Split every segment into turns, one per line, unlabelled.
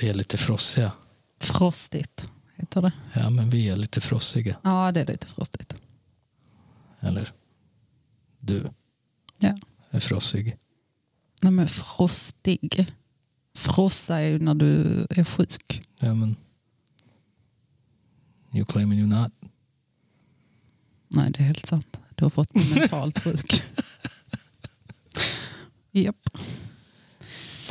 Vi är lite frossiga.
Frostigt heter det.
Ja, men vi är lite frossiga.
Ja, det är lite frostigt.
Eller? Du
Ja.
är frossig.
Nej, men frostig. Frossa är ju när du är sjuk.
Ja, men... You claiming you're not.
Nej, det är helt sant. Du har fått mig mentalt sjuk. Japp.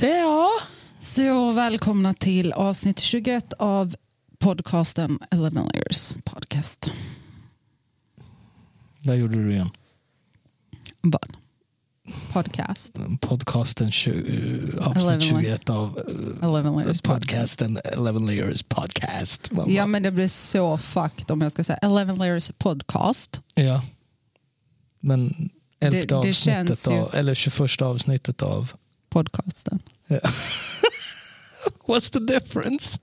Ja. Så välkomna till avsnitt 21 av podcasten Eleven Layers podcast.
Där gjorde du igen.
Vad? Podcast.
Podcasten 20, avsnitt
Eleven
21 av eh,
Eleven Layers podcast.
podcasten Eleven Layers Podcast. Man
Ja,
bara,
men det blir så fucked om jag ska säga Eleven Layers podcast.
ja. Men elfte
Det- det
avsnittet
känns ju-
av, eller 21 avsnittet av
Podcasten.
What's the difference?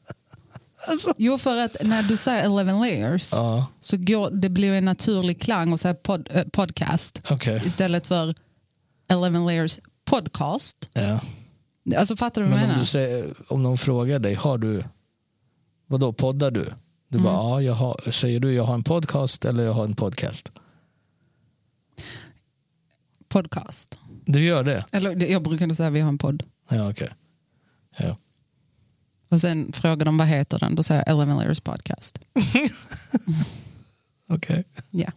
alltså.
Jo, för att när du säger Eleven Layers
Ja,
så går, det blir en naturlig klang att säga pod, eh, podcast
okej.
istället för Eleven Layers podcast.
Ja.
Alltså fattar du vad jag
Men om,
menar?
du säger, om någon frågar dig, har du, vadå poddar du? Du bara, ja, jag har, säger du jag har en podcast eller jag har en podcast?
Podcast.
Du gör det?
Eller det- jag brukade säga vi har en podd.
Ja, okej. Ja.
Och sen frågar de vad heter den, då säger jag Eleven Layers podcast.
Okej.
Ja.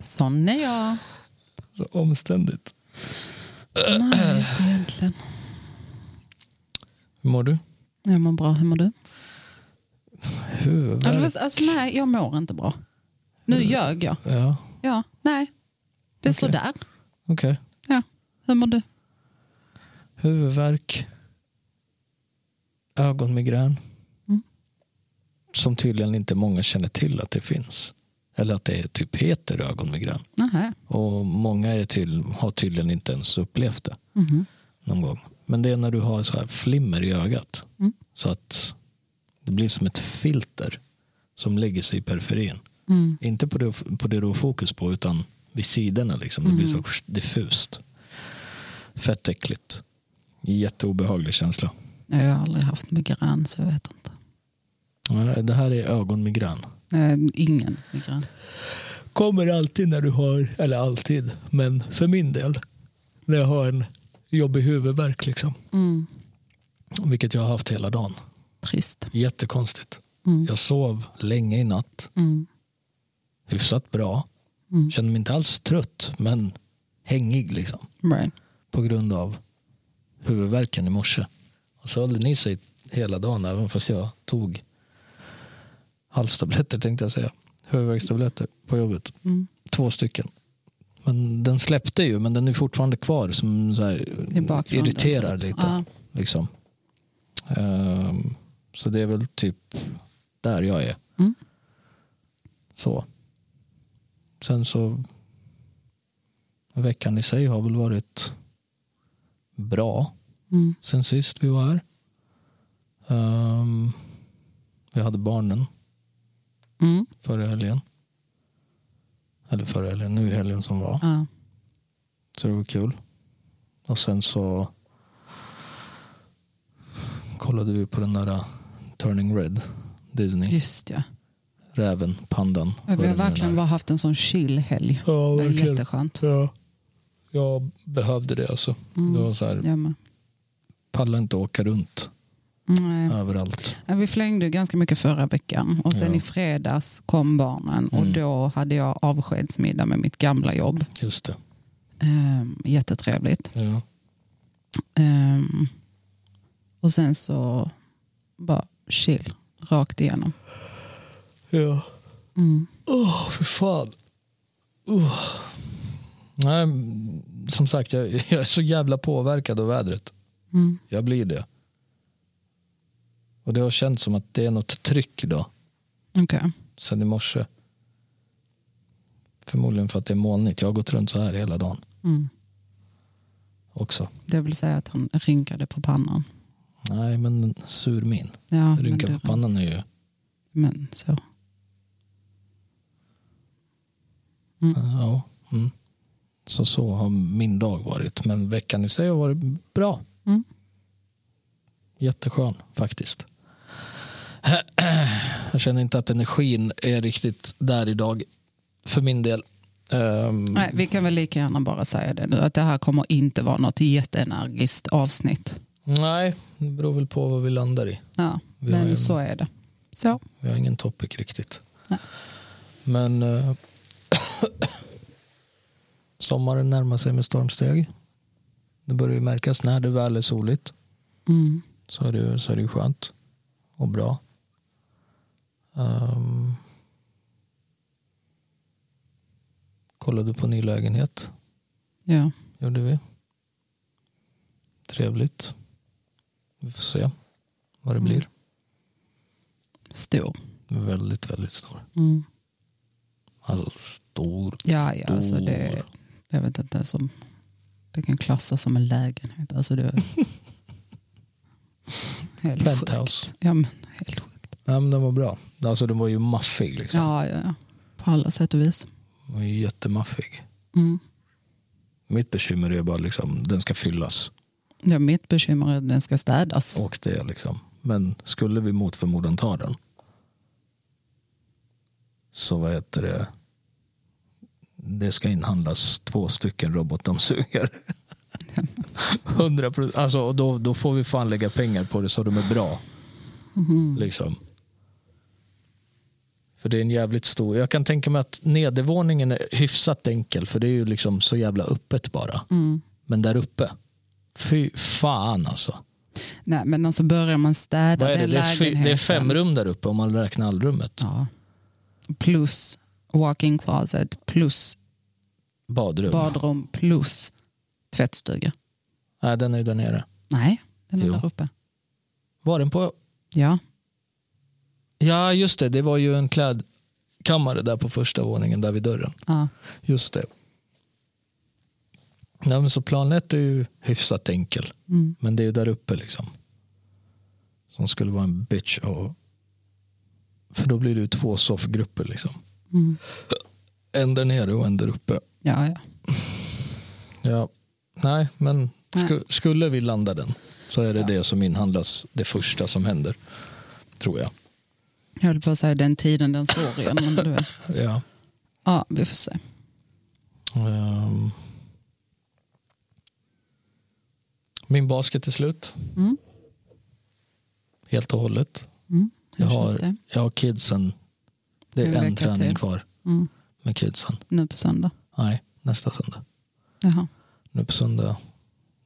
Sån är jag.
Så omständigt.
Nej, inte egentligen.
Hur mår du?
Jag mår bra, hur mår du? Eller
Huvudvärk.
fast, Alltså, nej, jag mår inte bra. Nu
Mm.
ljög jag.
Ja,
Ja, nej. Det står där.
okej.
Ja. Hur mår du?
Huvudvärk. Ögonmigrän.
Mm.
Som tydligen inte många känner till att det finns. Eller att det typ heter ögonmigrän.
Nähä.
Och många är tydl- har tydligen inte ens upplevt det.
Mhm.
någon gång. Men det är när du har så här flimmer i ögat.
Mm.
Så att det blir som ett filter som lägger sig i periferin.
Mm.
Inte på det, på det du har fokus på utan vid sidorna. Liksom. Det blir så diffust. Fett äckligt. Jätteobehaglig känsla.
Jag har aldrig haft migrän så jag vet inte.
Ja, Det här är ögonmigrän.
Eh, ingen migrän.
Kommer alltid när du har, eller alltid, men för min del. När jag har en jobbig huvudvärk liksom.
Mm.
Vilket jag har haft hela dagen.
Trist.
Jättekonstigt.
Mm.
Jag sov länge i natt.
Mm.
hyfsat bra.
Mm.
Kände mig inte alls trött, men hängig liksom.
Right.
På grund av huvudvärken i morse. Och så höll den i sig hela dagen, även fast jag tog halstabletter tänkte jag säga. Huvudvärkstabletter på jobbet.
Mm.
Två stycken. Men den släppte ju, men den är fortfarande kvar som så här,
I bakgrunden,
Mm. irriterar
typ.
lite.
Ja.
Liksom. Ehm, så det är väl typ där jag är.
Mm.
Så. Sen så veckan i sig har väl varit bra
Mm.
sen sist vi var här. Ehm, vi hade barnen
Mm.
förra helgen. Eller förra helgen, nu i helgen som var.
Ja.
Så det var kul. Och sen så kollade vi på den där uh, Turning Red. Disney.
Just ja.
Räven, pandan. vad
Vi har
den nu
verkligen
är.
bara haft en sån chill-helg.
Ja,
Det är
verkligen.
jätteskönt.
Ja. Jag behövde det alltså.
Mm.
Det var så här,
Ja, men. Mm,
palla inte åka runt
Nej.
överallt.
Ja, Vi flängde ju ganska mycket förra veckan och sen
Ja.
i fredags kom barnen och
Mm.
då hade jag avskedsmiddag med mitt gamla jobb.
Just det.
Ehm, jättetrevligt.
Ja.
Ehm, och sen så bara chill, rakt igenom.
ja.
Mm.
Åh, för fan. Uh. Nej, som sagt, jag, jag är så jävla påverkad av vädret.
Mm.
Jag blir det. Och det har känts som att det är något tryck idag,
Okej.
sen i morse. Förmodligen för att det är molnigt. Jag har gått runt så här hela dagen
Mm.
också.
Det vill säga att han rynkade på pannan.
Nej, men sur min.
Ja, men,
Rynka
det-
på pannan är ju...
men så.
Ja. Mm. Så så har min dag varit. Men veckan i sig har varit bra.
Mm.
Jätteskön faktiskt. Jag känner inte att energin är riktigt där idag för min del. Ehm,
Nej, vi kan väl lika gärna bara säga det nu, att det här kommer inte vara något jätteenergiskt avsnitt.
nej, det beror väl på vad vi landar i.
Ja,
Vi har en-
men så är det. Så,
Vi har ingen topic riktigt.
Nej.
Men eh, sommaren närmar sig med stormsteg. Det börjar ju märkas när det väl är soligt.
mm.
Så är det, så är det ju skönt och bra. Um, kollade på ny lägenhet.
ja.
Gjorde vi. Trevligt. Vi får se vad det
Mm.
blir.
stor.
Väldigt, väldigt stor.
Mm.
Alltså stor.
Ja, ja, alltså det,
Stor.
jag vet inte ens om det kan klassas som en lägenhet. Alltså det, helt
Penthouse.
Sjukt. Ja, men helt sjukt.
Nej, men den var bra. Alltså den var ju maffig. Liksom.
Ja, ja, ja. På alla sätt och vis.
Den var ju jättemaffig.
Mm.
Mitt bekymmer är bara liksom, den ska fyllas.
Ja, mitt bekymmer är att den ska städas.
Och det är liksom. Men skulle vi mot förmodan ta den. Så vad heter det. Det ska inhandlas två stycken robotdammsugare. 100 procent. Alltså, och då, då får vi fan lägga pengar på det så de är bra. Liksom. För det är en jävligt stor. Jag kan tänka mig att nedervåningen är hyfsat enkel. För det är ju liksom så jävla öppet bara.
Mm.
Men där uppe. Fy fan alltså.
Nej, men alltså börjar man städa
Vad är det?
den
Det är, fy,
lägenheten.
det är fem rum där uppe om man räknar allrummet.
Ja. Plus walk-in closet, plus
Badrum.
badrum, plus tvättstuga.
Nej, den är ju där nere.
Nej, den är
Jo.
där uppe.
Var den på...
Ja.
Ja, just det. Det var ju en klädkammare där på första våningen, där vid dörren.
ja.
Just det. Nej, men så plan ett är ju hyfsat enkel.
Mm.
Men det är ju där uppe liksom. Som skulle vara en bitch. Och... För då blir det ju två soffgrupper liksom.
Mm.
En där nere och en där uppe.
Ja, ja.
Ja. Nej, men
Nej.
sku- skulle vi landa den så är det
Ja.
det som inhandlas det första som händer. Tror jag.
Jag höll på att säga den tiden, den sorgen. Men du vet.
Ja.
Ja, vi får se.
Ehm. Min basket är slut.
Mm.
Helt och hållet.
Mm. Hur
Jag
känns
har-
det
Jag har kidsen. Det är
En
en,
vecka
träning
till.
kvar
mm.
med kidsen.
nu på söndag?
Nej, nästa söndag.
Jaha.
Nu på söndag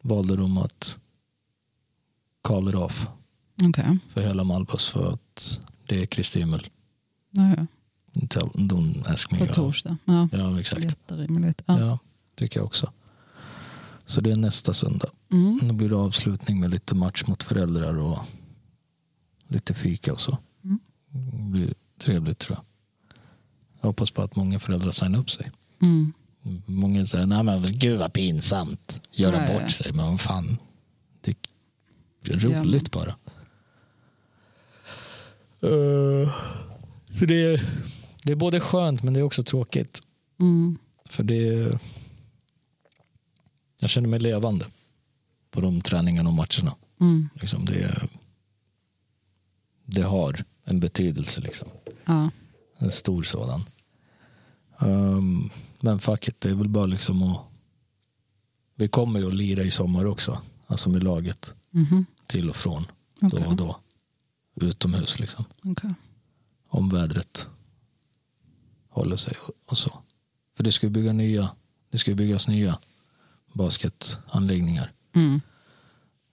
valde de att call it off
Okej.
för hela Malbus för att det är Kristi himmel.
Ja, ja.
Tell- Don't ask me.
På
Ja.
torsdag. Ja.
Ja, exakt.
Jätterimligt.
Ja.
Ja.
tycker jag också. Så det är nästa söndag.
Mm.
Då blir det avslutning med lite match mot föräldrar och lite fika och så.
Mm.
Det blir trevligt tror jag. Jag hoppas på att många föräldrar signar upp sig.
Mm.
Många säger, nej men gud vad pinsamt. Göra
Nej.
bort sig. Men vad fan. Det är
Ja, men-
roligt bara. Eh, så det, är, det är både skönt men det är också tråkigt.
Mm.
För det... Jag känner mig levande på de träningarna och matcherna.
Mm.
Liksom det, det har en betydelse, liksom.
Ja.
en stor sådan. Ehm, men fuck it, det är väl bara liksom att... Vi kommer ju att lira i sommar också, alltså med laget
Mhm.
till och från
Okej.
då och då. Utomhus liksom,
Okej.
om vädret håller sig och- och så. För det ska ju bygga nya, det ska ju byggas nya basketanläggningar
Mm.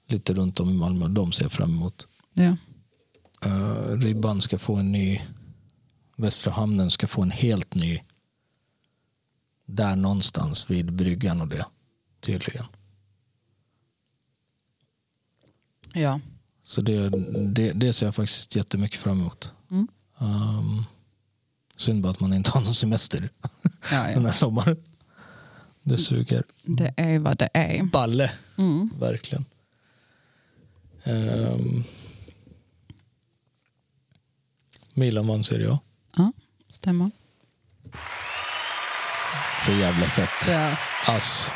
lite runt om i Malmö och de ser jag fram emot.
Ja.
Eh, Ribban ska få en ny, Västra Hamnen ska få en helt ny där någonstans vid bryggan och det tydligen.
Ja.
Så det, det, det ser jag faktiskt jättemycket fram emot.
Mm.
Ehm, synd bara att man inte har någon semester
Ja,
den
ja.
här sommaren. Det suger.
Det är vad det är.
Balle.
Mm.
Verkligen. Um, Milan vann Serie A.
Ja, stämmer.
Så jävla fett.
Ja.
Alltså,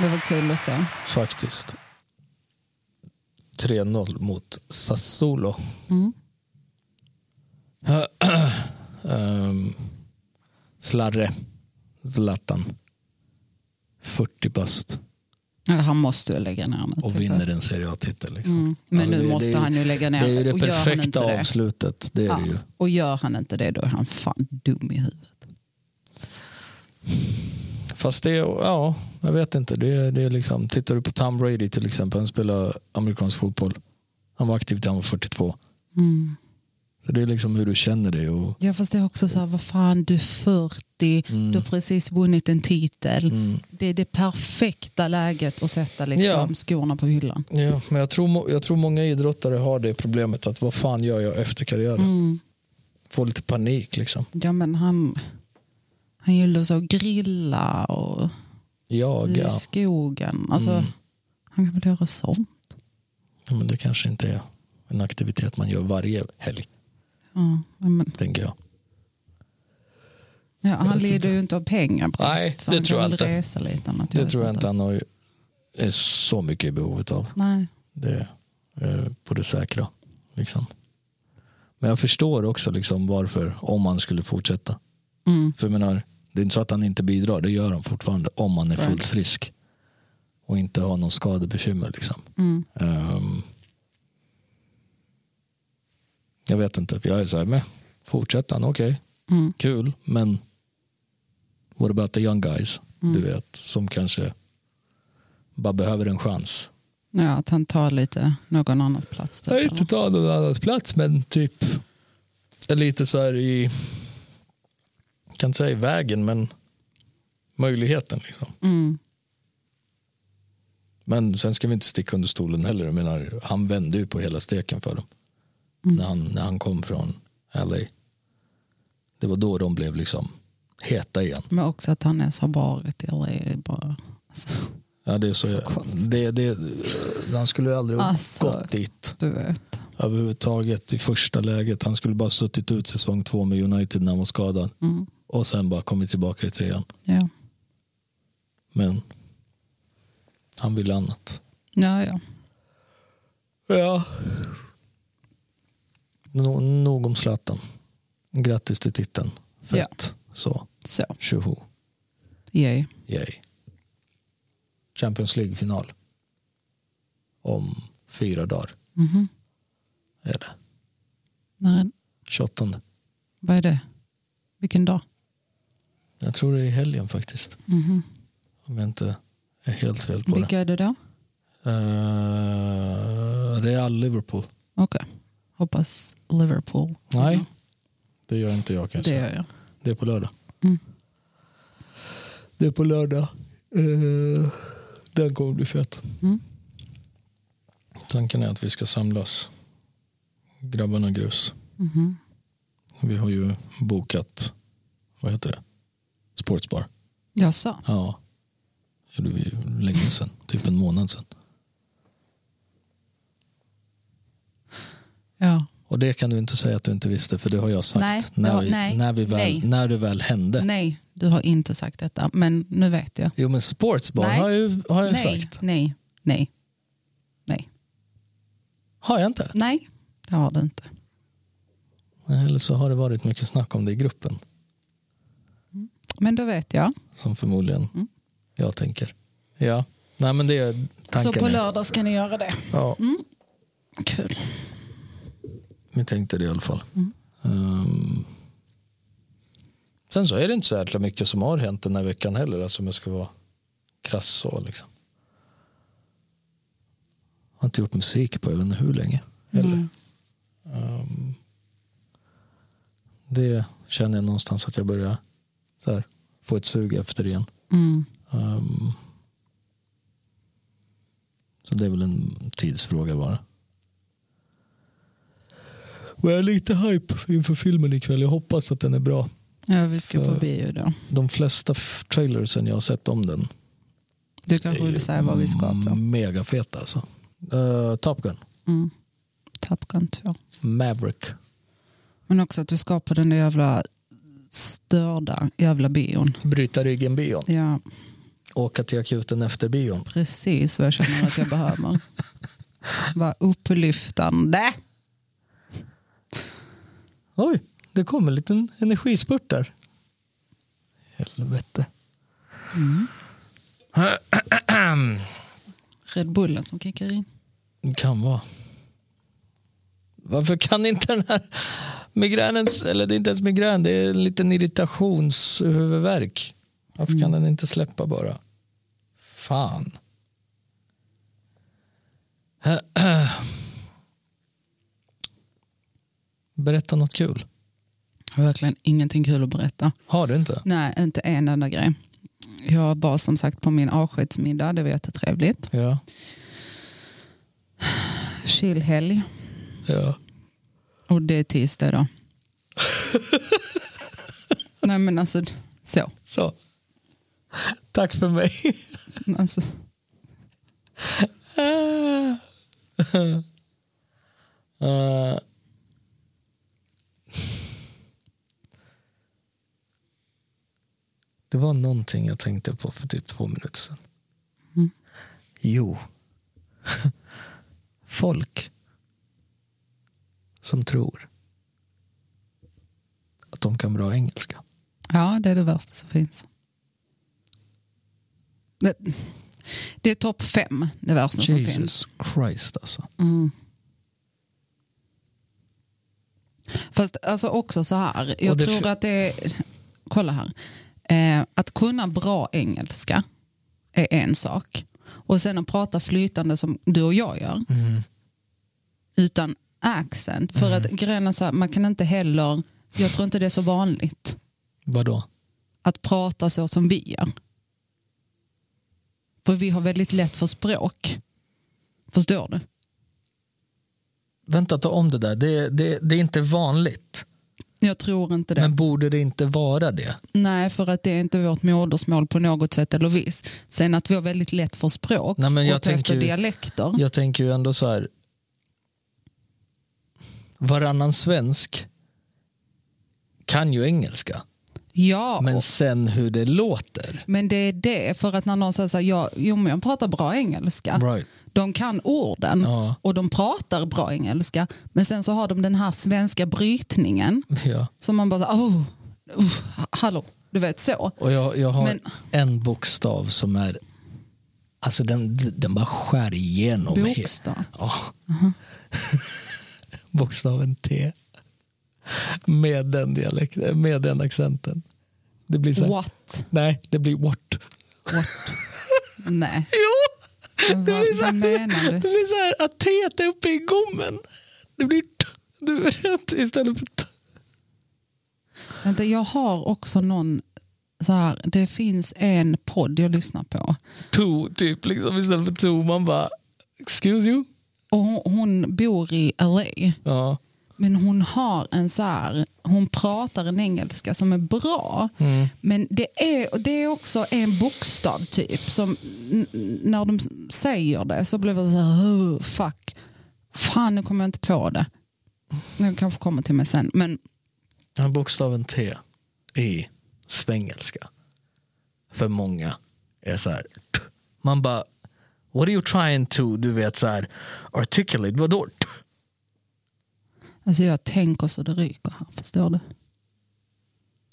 Det var kul att se.
faktiskt. 3-0 mot Sassuolo.
Mm.
Ehm, Slarre. Zlatan. 40 bast.
Ja, Han måste ju lägga ner nu. tycker
Och
jag.
vinner en Serie A-titel. Liksom.
Mm. Men
Alltså,
nu
det- det
måste
är ju-
han ju lägga ner
Det är ju det
och gör han inte
perfekta
det-
avslutet. Det är det ju.
Ja, och gör han inte det då är han fan dum i huvudet.
Fast det, ja, jag vet inte. Det, det är liksom, tittar du på Tom Brady till exempel, han spelar amerikansk fotboll. Han var aktiv till han var 42.
Mm.
Så det är liksom hur du känner dig. Och,
Ja fast det är också så här, vad fan du är 40, du har precis vunnit en titel.
mm.
Det är det perfekta läget att sätta liksom,
Ja.
skorna på hyllan.
ja, men jag tror, må- jag tror många idrottare har det problemet att vad fan gör jag efter karriären?
Mm.
Får lite panik liksom.
Ja men han, han gillar så att grilla och i
Jaga.
skogen. Alltså,
Mm.
Han kan väl göra sånt.
Ja, men det kanske inte är en aktivitet man gör varje helg,
Ja, men,
tänker jag.
ja, han
vet
lider
inte.
ju inte av pengar precis,
Nej,
så
det
han
tror
kan
jag
väl
inte.
resa lite. Annat,
Det
vet
tror jag inte han har, är så mycket i behovet av.
Nej.
Det är på det säkra. Liksom. Men jag förstår också liksom varför, om han skulle fortsätta.
Mm.
För jag menar, det är inte så att han inte bidrar, det gör han fortfarande om han är
Right.
fullt frisk. Och inte har någon skadebekymmer. Liksom.
Mm.
Ehm, jag vet inte, jag är så här med. Fortsätter han, okej,
Mm.
kul, men what about the young guys?
mm.
Du vet, som kanske bara behöver en chans.
Ja, att han tar lite någon annans plats. Typ,
Nej, inte
eller?
ta någon annans plats, men typ lite så här i, jag kan inte säga i vägen, men möjligheten. Liksom.
mm.
Men sen ska vi inte sticka under stolen heller. Jag menar, han vände ju på hela steken för dem
Mm.
när, han, när han kom från LA. Det var då de blev liksom heta igen.
Men också att han är så varit eller är bara... Alltså,
Ja, det är så,
Så konstigt.
det, det, han skulle ju aldrig
Alltså.
gått dit
du vet.
överhuvudtaget i första läget. Han skulle bara suttit ut säsong två med United när han var skadad.
Mm.
och sen bara kommit tillbaka i trean.
Ja.
Men han ville annat.
Ja, ja.
Ja. No, nog om Zlatan. Grattis till titeln. Fett. Så,
Så,
tjoho.
yay.
Yay. Champions League-final. Om fyra dagar
Mhm.
är det.
När,
28.
vad är det? Vilken dag?
Jag tror det är i helgen faktiskt.
Mhm.
Om jag inte är helt fel på det.
Vilka är det då?
Eh, Real-Liverpool.
Okej. Hoppas Liverpool.
Nej, det gör inte jag kanske.
Det gör jag.
Det är på lördag.
Mm.
Det är på lördag. Eh, den kommer bli fet.
Mm.
Tanken är att vi ska samlas. Grabbarna grus.
Mhm.
Vi har ju bokat, vad heter det? Sportsbar.
Jag sa.
Ja. Gjorde vi ju länge sedan. Typ en månad sedan.
Ja.
Och det kan du inte säga att du inte visste för det har jag sagt.
Nej,
när,
ja,
vi,
nej,
när, vi väl,
nej.
när det väl hände.
Nej, du har inte sagt detta. Men nu vet jag.
Jo men sportsbar
Nej.
har jag, ju- har jag
nej,
sagt.
nej, nej, nej.
Har jag inte?
Nej, det har du inte.
Nej, Eller så har det varit mycket snack om det i gruppen.
Men då vet jag.
Som förmodligen
Mm.
jag tänker. Ja, nej men det är tanken.
Så på Mm.
är-
lördag ska ni göra det.
Ja,
Kul.
vi tänkte det i alla fall.
Mm.
Ehm, sen så är det inte så jäkla mycket som har hänt den här veckan heller. Alltså om jag ska vara krass så liksom. Har inte gjort musik på jag vet inte hur länge. Eller?
Mm.
Ehm, det känner jag någonstans att jag börjar så här, få ett sug efter igen.
Mm.
Ehm, så det är väl en tidsfråga bara. Och jag är lite hype inför filmen ikväll. Jag hoppas att den är bra.
Ja, vi ska
För-
på bio då.
De flesta f- trailersen jag har sett om den
Du kanske vill säga vad vi ska på.
mega feta alltså. Eh, Top Gun,
Mm. Top Gun 2.
Maverick.
Men också att du ska på den där jävla störda jävla bion.
Bryta ryggen bion.
Ja,
Åka till akuten efter bion.
precis vad jag känner att jag behöver. Vad upplyftande.
Oj, det kom en liten energispurt där. Helvete.
Red Bullen som kickar in.
Det kan vara. Varför kan inte den här migränen, eller det är inte ens migrän, det är en liten irritationshuvudvärk. Varför kan den inte släppa bara? Fan. Berätta något kul.
Jag har verkligen ingenting kul att berätta.
Har du inte?
Nej, inte en enda grej. Jag var som sagt på min avskedsmiddag, det var jättetrevligt.
Ja.
Chillhelg
ja.
och det är tisdag då. Nej men alltså, så.
Så. Tack för mig.
Alltså,
Ah. Eh. Det var någonting jag tänkte på för typ två minuter sedan.
Mm.
Jo. Folk som tror att de kan bra engelska.
ja, det är det värsta som finns. Det, det är topp fem, det värsta som finns.
Jesus Christ alltså.
Mm. Fast alltså också så här, jag
Och det
tror
fi-
att det är, kolla här, eh, att kunna bra engelska är en sak och sen att prata flytande som du och jag gör
Mm.
utan accent för att grejen är så här, man kan inte heller, jag tror inte det är så vanligt
Vadå?
att prata så som vi gör. För vi har väldigt lätt för språk. Förstår du?
Vänta, ta om det där. Det, det, det är inte vanligt.
Jag tror inte det.
Men borde det inte vara det?
Nej, för att det är inte vårt modersmål på något sätt eller vis. Sen att vi har väldigt lätt för språk
Nej, men jag
och ta efter
tänker-
dialekter.
Jag tänker ju ändå så här. Varannan svensk kan ju engelska.
Ja,
Men
men...
sen hur det låter.
men det är det. För att när någon säger så här, ja, jo men jag pratar bra engelska.
Right.
De kan orden
Ja.
och de pratar bra engelska. Men sen så har de den här svenska brytningen
Ja.
som man bara, så här, oh, oh, hallå, du vet så.
Och jag, jag har
Men-
en bokstav som är... Alltså den, den bara skär igenom mig.
Bokstav.
Ja. Bokstaven T. Med den dialekten, med den accenten. Det blir så här,
What?
Nej, det blir what.
Nej.
Jo!
Vad, vad menar
Det
du?
blir så här att T är uppe i gommen. Det blir t, du vet, istället för t.
Vänta, jag har också någon, så här, det finns en podd jag lyssnar på.
To, typ, liksom, istället för to. Man bara, excuse you?
Och hon, hon bor i LA.
Ja.
Men hon har en så här, hon pratar en engelska som är bra. Men det är, och det är också en bokstav typ. Som n- n- när de säger det så blir det så här, "Oh, fuck. Fan nu kommer jag inte på det. Den kanske kommer till mig sen. Men
Ja, bokstaven T i svengelska för många är så här. T. Man bara, what are you trying to, du vet så här, articulate, vadå? T.
alltså jag tänker så det ryker här, förstår du?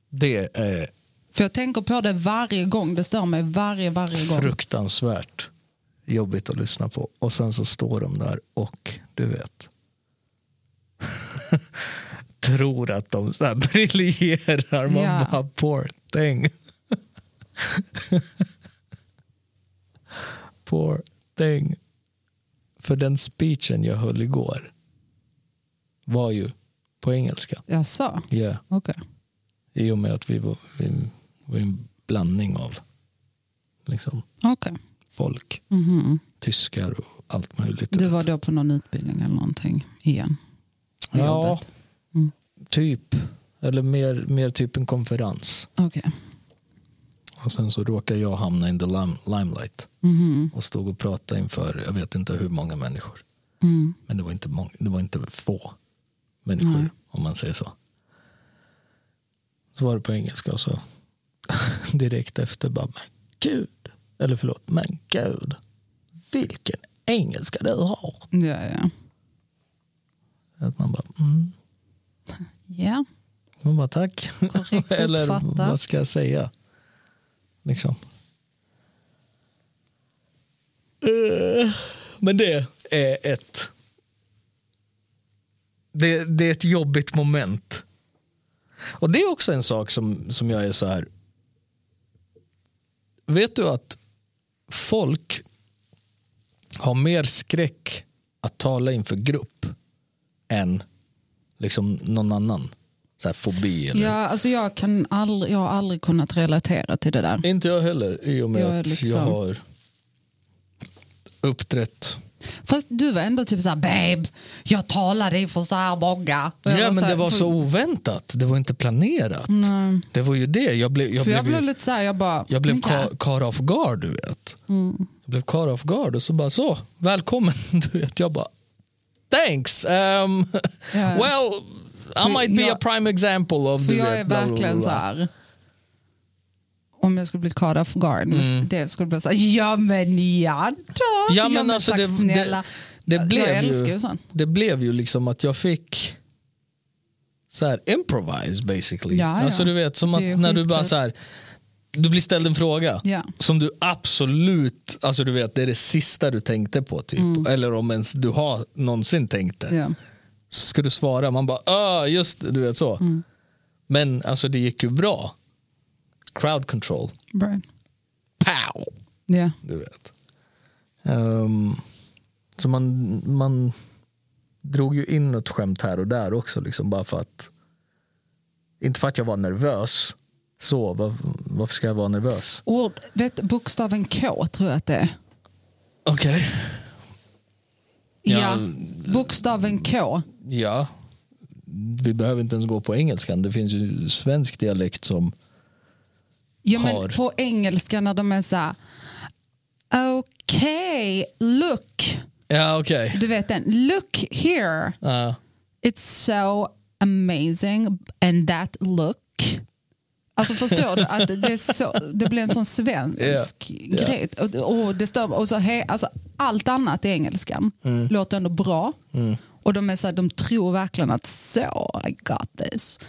Det är
För jag tänker på det varje gång, det stör mig varje, varje gång.
fruktansvärt jobbigt att lyssna på. Och sen så står de där och, du vet, tror att de så här briljerar. Man
Ja.
bara, poor thing. poor thing. För den speechen jag höll igår var ju på engelska.
Jaså?
Yeah.
Okej.
I och med att vi var, vi var en blandning av liksom,
Okej.
folk.
Mhm.
tyskar och allt möjligt.
Du var då på någon utbildning eller någonting igen? på
ja,
jobbet. Mm.
typ. Eller mer, mer typ en konferens.
Okej.
Och sen så råkade jag hamna in the lim- limelight
Mhm.
och stod och pratade inför jag vet inte hur många människor.
Mm.
Men det var inte, många, det var inte få människor
Nej.
om man säger så. Så var det på engelska och så direkt efter bara men gud. Eller förlåt, men gud. Vilken engelska du har.
Ja, ja.
Att man bara, mm.
ja.
man bara tack.
Korrekt
Eller
uppfattat.
vad ska jag säga? Liksom. Eh, Men det är ett... Det, det är ett jobbigt moment. Och det är också en sak som, som jag är så här... Vet du att folk har mer skräck att tala inför grupp än liksom någon annan så här fobi? Eller?
ja alltså jag, kan aldrig, jag har aldrig kunnat relatera till det där.
Inte jag heller i och med
Jag är
att jag
liksom-
har uppträtt.
Fast du var ändå typ så här, babe, jag talade inför så här många. Och jag
Ja men
här,
det var så oväntat, det var inte planerat. Det var ju det, jag blev, jag
För jag
blev,
blev
ju,
lite så här, jag bara...
jag blev
"Vänta."
ka, car off guard du vet.
Mm.
Jag blev car off guard och så bara så, välkommen du vet. Jag bara, thanks. Um,
Ja.
Well, I
För
might be
jag-
a prime example of
För
du
jag
vet,
är
bla, bla, bla,
verkligen så
bla.
här. Om jag skulle bli caught off guard, det skulle bli så här, ja men ja då.
Mm. Ja, men alltså,
tack
det- det-
snälla.
det
jag
blev ju-
älskar ju sånt.
det blev ju liksom att jag fick så här improvise basically.
Ja, ja.
Alltså du vet som
Det
att
är
när du
skitkul.
bara så här du blir ställd en fråga
Ja.
som du absolut, alltså du vet det är det sista du tänkte på typ. Eller om ens du har någonsin tänkt det.
Mm. Ja.
Så ska du svara, man bara ah, just det", du vet så.
Mm.
Men alltså det gick ju bra. Crowd control,
Brian.
pow!
Ja.
du vet. Ehm, så man, man drog ju in något skämt här och där också, liksom, bara för att... Inte för att jag var nervös, så var, varför ska jag vara nervös?
Ord, vet, bokstaven K tror jag att det är.
Okej. Ja.
Ja. Bokstaven K.
Ja. Vi behöver inte ens gå på engelskan. Det finns ju svensk dialekt som...
Ja,
Har.
men på engelska när de är så här. Okej, look.
Ja, okej.
Du vet den. Look here.
Ja.
It's so amazing and that look. Alltså förstår du att det, är så, det blir en sån svensk
Yeah. Yeah.
grej. Och, och det stör, och så, he, alltså, allt annat i engelskan
Mm.
låter ändå bra. Och de, är så här, de tror verkligen att så, I got this.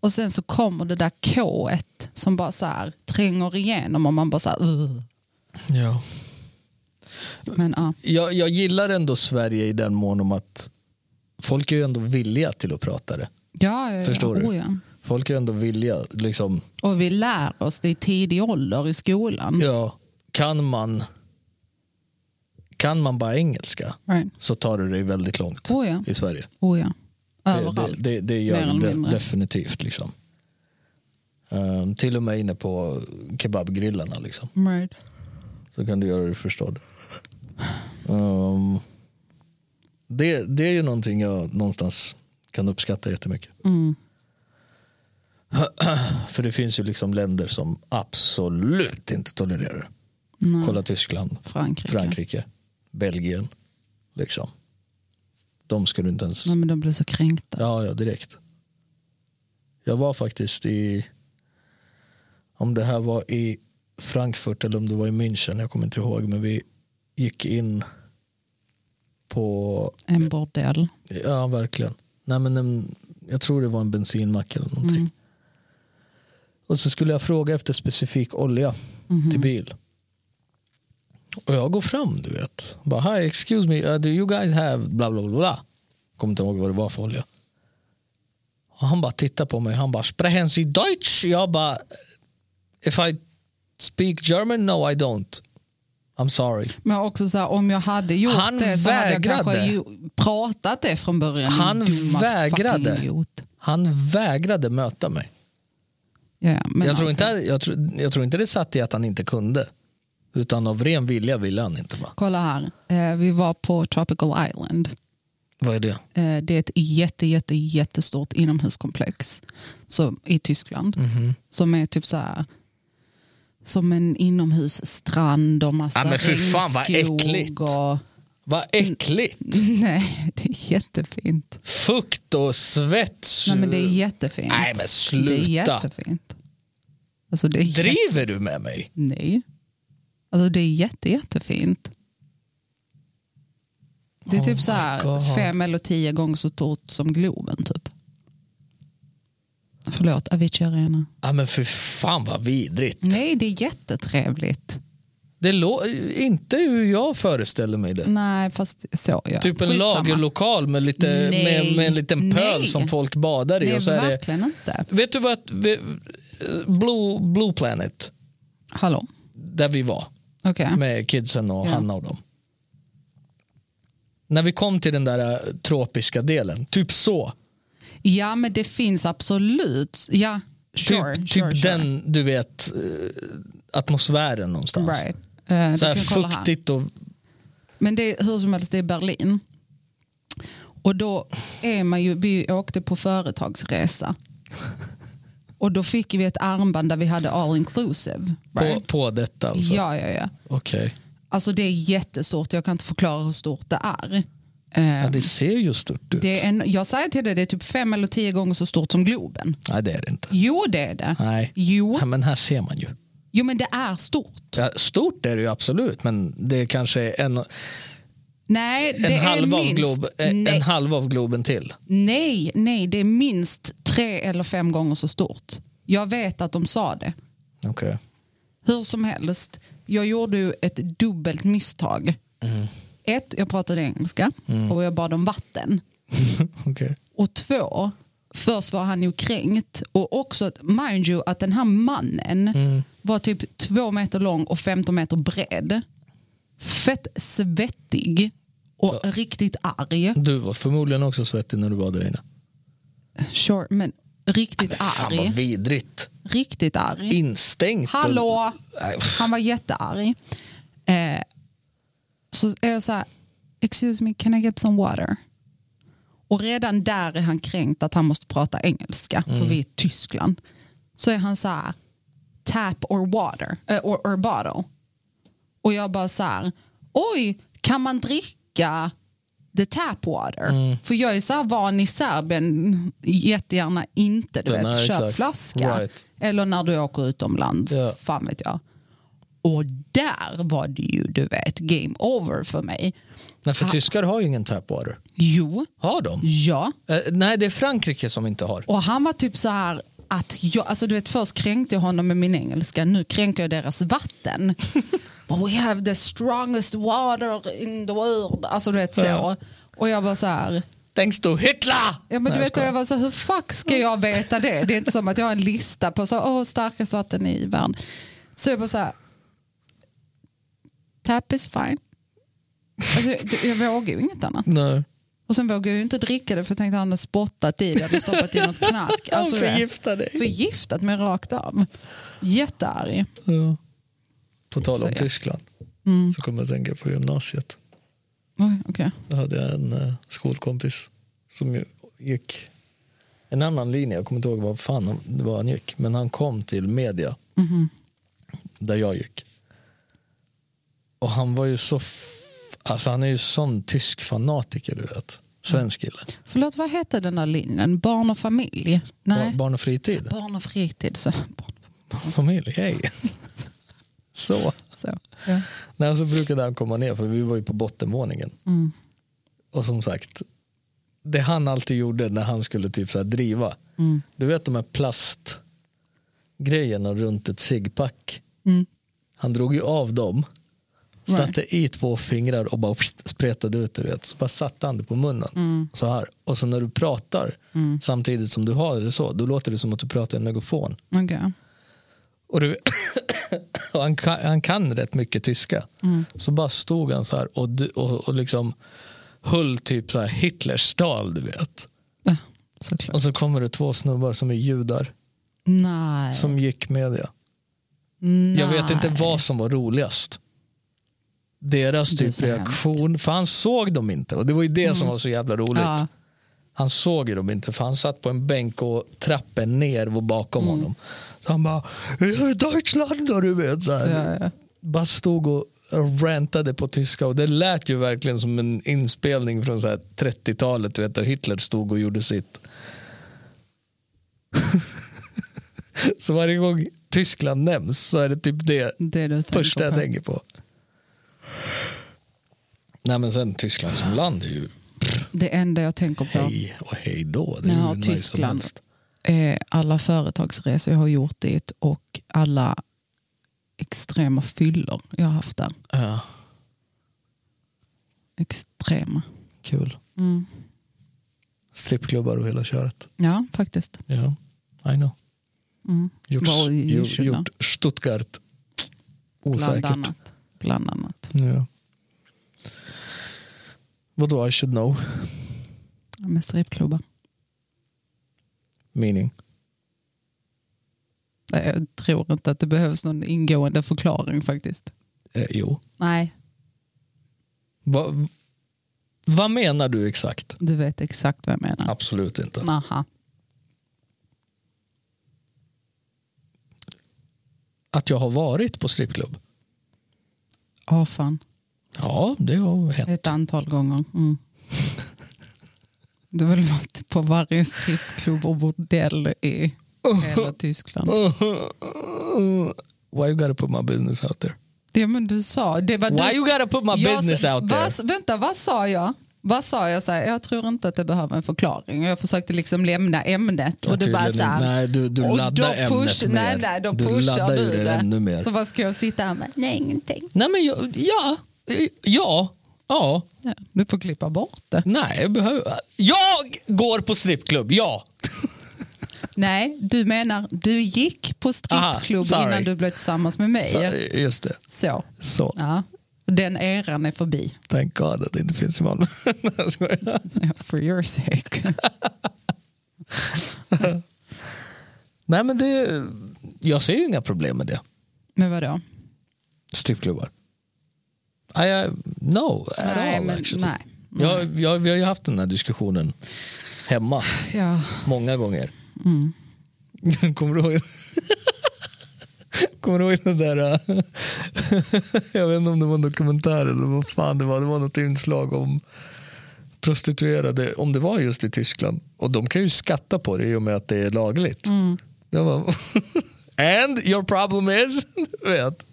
Och sen så kommer det där k som bara så här, tränger igenom och man bara så här, "Ugh."
ja.
Men ja,
jag, jag gillar ändå Sverige i den mån om att folk är ju ändå villiga till att prata det.
ja, ja,
Förstår
ja.
du?
Oh, ja.
Folk är ändå villiga. Liksom,
Och vi lär oss det i tidig ålder i skolan.
ja, kan, man, kan man bara engelska
Right.
så tar du dig väldigt långt
Oh, ja.
i Sverige.
Oh ja.
Det,
Överallt.
det, det, det
Mer
gör
eller
det
mindre.
definitivt. Liksom. Ehm, till och med inne på kebabgrillarna liksom,
Right.
så kan du göra dig förstådd. Ehm, det, det är ju någonting jag någonstans kan uppskatta jättemycket.
Mm.
För det finns ju liksom länder som absolut inte tolererar det.
Nej.
Kolla Tyskland,
Frankrike.
Frankrike, Belgien. Liksom. De skulle inte ens...
Nej, men de blir så kränkta.
Ja, ja, direkt. Jag var faktiskt i... Om det här var i Frankfurt eller om det var i München, jag kommer inte ihåg. Men vi gick in på...
En bordell.
Ja, verkligen. Nej, men en, jag tror det var en bensinmack eller någonting.
Mm.
Och så skulle jag fråga efter specifik olja
Mhm.
till bil. Och jag går fram, du vet. Bara, hi, excuse me, uh, do you guys have bla bla bla bla. Kommer inte ihåg vad det var för olja. Och han bara tittar på mig, han bara, sprechen Sie Deutsch? Jag bara, if I speak German? No I don't. I'm sorry.
Men också så här, om jag hade gjort
Han
det så
vägrade.
hade jag kanske ju pratat det från början. din
Han
dumma
vägrade.
fucking idiot.
Han vägrade möta mig.
Ja, ja, men
Jag tror,
alltså,
inte, jag, tror, jag tror inte det satt i att han inte kunde. Utan av ren vilja ville han inte. Va?
Kolla här, eh, vi var på Tropical Island.
Vad är det?
Eh, det är ett jätte, jätte, jättestort inomhuskomplex så, i Tyskland.
Mhm.
Som är typ så här som en inomhusstrand och massa
Ja, men fy fan, vad
regnskog
äckligt.
och...
Vad äckligt!
Nej, det är jättefint.
Fukt och svett.
Nej, men det är jättefint.
Nej, men sluta.
Det är jättefint. Alltså, det är jä-
Driver du med mig?
Nej. Alltså, det är jätte, jättefint. Det är
Oh
typ så
my
här
God.
fem eller tio gånger så stort som Globen typ. Förlåt, Avicii Arena.
Ja, men för fan vad vidrigt.
Nej, det är jättetrevligt.
Det lå- inte hur jag föreställer mig det.
Nej, fast så ja.
Typ en
Skitsamma.
lagerlokal med, lite,
Nej.
med, med en liten pöl
Nej.
som folk badar i.
Nej,
och så är det,
verkligen inte.
vet du vad? vi- Blue, Blue Planet,
Hallå?
där vi var
Okej.
med kidsen och
Ja.
Hanna och dem. När vi kom till den där eh, tropiska delen, typ så.
Ja, men det finns absolut. Ja, sure.
typ
sure,
typ
sure.
den, du vet, eh, atmosfären någonstans.
Right. Eh,
Så här
du kan kolla här.
fuktigt och...
Men det är hur som helst, det är Berlin. Och då är man ju, vi åkte på företagsresa. Och då fick vi ett armband där vi hade all inclusive.
På, på detta alltså?
Ja, ja, ja.
Okej.
Alltså det är jättestort, jag kan inte förklara hur stort det är. Eh,
Ja, det ser ju stort ut.
det är en, jag säger till dig, det är typ fem eller tio gånger så stort som Globen.
Nej, det är det inte.
Jo, det är det.
Nej.
Jo,
Ja, men här ser man ju.
jo men det är stort.
Ja, stort är det ju absolut, men det är kanske en,
Nej, det
en,
är
halv, av
minst...
glob, eh, en,
nej,
en halv av Globen till.
nej, nej, det är minst tre eller fem gånger så stort. Jag vet att de sa det.
Okay.
Hur som helst, jag gjorde ju ett dubbelt misstag.
Mm.
Ett, jag pratade engelska och jag bad om vatten.
Okay.
Och två, först var han ju kränkt. Och också, att- mind you, att den här mannen
Mm.
var typ två meter lång och 15 meter bred. Fett svettig och riktigt arg.
Du var förmodligen också svettig när du var där inne.
Sure, men riktigt
Fan
arg.
vad vidrigt.
Riktigt arg.
Instängt. och-
Hallå!
Nej,
Han var jättearg. Eh, så är jag så här, excuse me, can I get some water? Och redan där är han kränkt att han måste prata engelska, för
Mm.
vi är i Tyskland. Så är han så här, tap or water, eh, or, or bottle. Och jag bara så här, oj, kan man dricka the tap water?
Mm.
För jag är så här van i Serbien, jättegärna inte, du
Den
vet,
här,
köp
exakt.
flaska.
Right.
Eller när du åker utomlands,
Ja.
fan vet jag. Och där var det ju, du vet, game over för mig.
Nej, för tyskar har ju ingen tapwater.
Jo,
Har de?
ja.
Eh, nej, det är Frankrike som inte har.
Och han var typ så här att jag, alltså du vet först kränkte jag honom med min engelska, nu kränker jag deras vatten. But we have the strongest water in the world. Alltså du vet så.
Ja.
Och jag var så här,
Thanks to Hitler!
ja men
Nej,
du
jag
vet
skojar.
jag var så här, hur fuck ska jag veta det? Det är inte som att jag har en lista på så, åh starkast vatten i världen. Så jag bara så här, tap is fine. Alltså, jag, jag vågar ju inget annat.
Nej.
Och sen vågade jag ju inte dricka det för jag tänkte att han hade spottat i det, hade stoppat i något knark. Alltså, du vet.
Förgifta dig.
Förgiftat mig rakt av. Jättearg.
Ja. På tal om
Så ja. Mm.
Tyskland så kommer jag att tänka på gymnasiet.
Oj, okej.
Då hade jag en eh, skolkompis som ju gick en annan linje. Jag kommer inte ihåg vad fan han- det var han gick. Men han kom till media där jag gick. Och han var ju så... F- alltså han är ju sån tysk fanatiker du vet. Svensk kille.
Förlåt, vad hette den där linjen? Barn och familj? Nej,
Bar- barn och fritid.
barn och fritid. Så. Barn,
Familj, hej. så.
så. Ja.
Nej, så brukade han komma ner för vi var ju på bottenvåningen.
Mm,
Och som sagt, det han alltid gjorde när han skulle typ så här driva. Du vet de här plastgrejerna runt ett ciggpack. Han drog ju av dem,
Right.
satte i två fingrar och bara spretade ut det. du Vet. Så bara satte han det på munnen. Så här. Och så när du pratar samtidigt som du har det så, då låter det som att du pratar i en megafon.
Okej.
Och, du, och han, kan, han kan rätt mycket tyska.
Mm.
Så bara stod han så här och, du- och, och liksom höll typ så här Hitlers tal, du vet.
Ja, Såklart.
Och så kommer det två snubbar som är judar
Nej.
som gick med det.
Nej.
Jag vet inte vad som var roligast. Deras
Det är
typ
så
reaktion, för han såg dem inte och det var ju det som var så jävla roligt.
Ja.
Han såg ju dem inte för han satt på en bänk och trappen ner var bakom
Mm.
honom. Så han bara, "Hur är Deutschland då du vet. Så här.
Ja, ja.
bara stod och rantade på tyska och det lät ju verkligen som en inspelning från så här 30-talet du vet, där Hitler stod och gjorde sitt. så varje gång Tyskland nämns så är det typ det
Det du tänker
första jag
på.
tänker på. Nej, men sen Tyskland som land är ju
Det enda jag tänker på
hej och hej då. Det
när
är
jag
ju
har
nice som
Tyskland
helst.
är alla företagsresor jag har gjort dit och alla extrema fyllor jag har haft där.
Ja,
Extrema.
kul.
Mm.
Strippklubbar och hela köret.
Ja, faktiskt.
Ja, I know.
Mm.
Gjort,
Var i
ju-
Jylland.
gjort Stuttgart
Bland
osäkert.
annat. Bland annat.
Ja. Vadå I should know?
Ja, Med stripklubbar.
Meaning?
Nej, Jag tror inte att det behövs någon ingående förklaring faktiskt.
Eh, jo.
Nej,
Va, vad menar du exakt?
du vet exakt vad jag menar.
Absolut inte.
Aha.
Att jag har varit på strippklubb?
Ja, fan.
Ja, det har hänt.
Ett antal gånger. Mm. Du har väl varit på varje strippklubb och bordell i hela Tyskland.
Why you gotta put my business out there?
Ja, men du sa... Det var
Why
du,
you gotta put my
Jag-
business out there?
Vad, vänta, vad sa jag? Vad sa jag? Så här, jag tror inte att det behöver en förklaring. Jag försökte liksom lämna ämnet och
Ja,
du bara
tydligen
så här,
inte. Nej, du- du
och
laddar
då push,
ämnet
nej,
mer.
nej, då
Du
pushar
laddar
du,
ju det ännu mer.
Så vad ska jag sitta här med? Nej, ingenting.
Nej men jag, ja, ja, ja,
Ja, du får klippa bort det.
nej. Jag, behöver, jag går på strippklubb, ja.
Nej, du menar du gick på
Aha,
strippklubb
sorry.
innan du blev tillsammans med mig.
Så,
Så.
just det. Så,
Ja. Den eran är förbi.
thank God att det inte finns i Malmö. Nej, jag skojar.
Ja, For your sake.
nej men det, jag ser ju inga problem med det.
Men vadå?
Strippklubbar. I, I, no, at
Nej,
all
men-
actually.
nej.
Jag, jag, vi har ju haft den här diskussionen hemma
Ja.
många gånger. Kommer du ihåg? Kommer du ihåg den där, äh, jag vet inte om det var en dokumentär eller vad fan det var, det var något inslag om prostituerade, om det var just i Tyskland, och de kan ju skatta på det i och med att det är lagligt. Det var, And your problem is, du vet.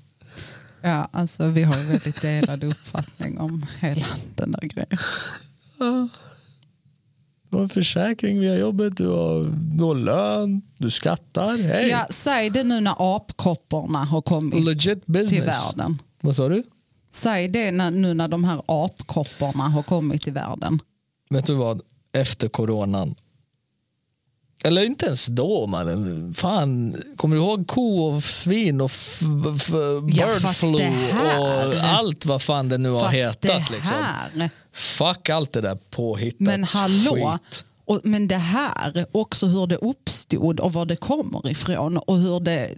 Ja, alltså vi har ju väldigt delad uppfattning om hela den där grejen.
Du har en försäkring via jobbet, du har, du har lön, du skattar, hej.
Ja, säg det nu när apkopporna har kommit
Legit
till
business.
världen.
Vad sa du?
Säg det när, nu när de här apkopporna har kommit till världen.
Vet du vad? Efter coronan. Eller inte ens då mannen. Fan, kommer du ihåg ko och svin och f- f-
Ja,
bird
fast
flu
det här-
och allt vad fan det nu har
Fast
hetat.
det här,
Liksom. Fuck allt det där påhittat
men hallå,
skit.
och, men det här, också hur det uppstod och var det kommer ifrån och hur det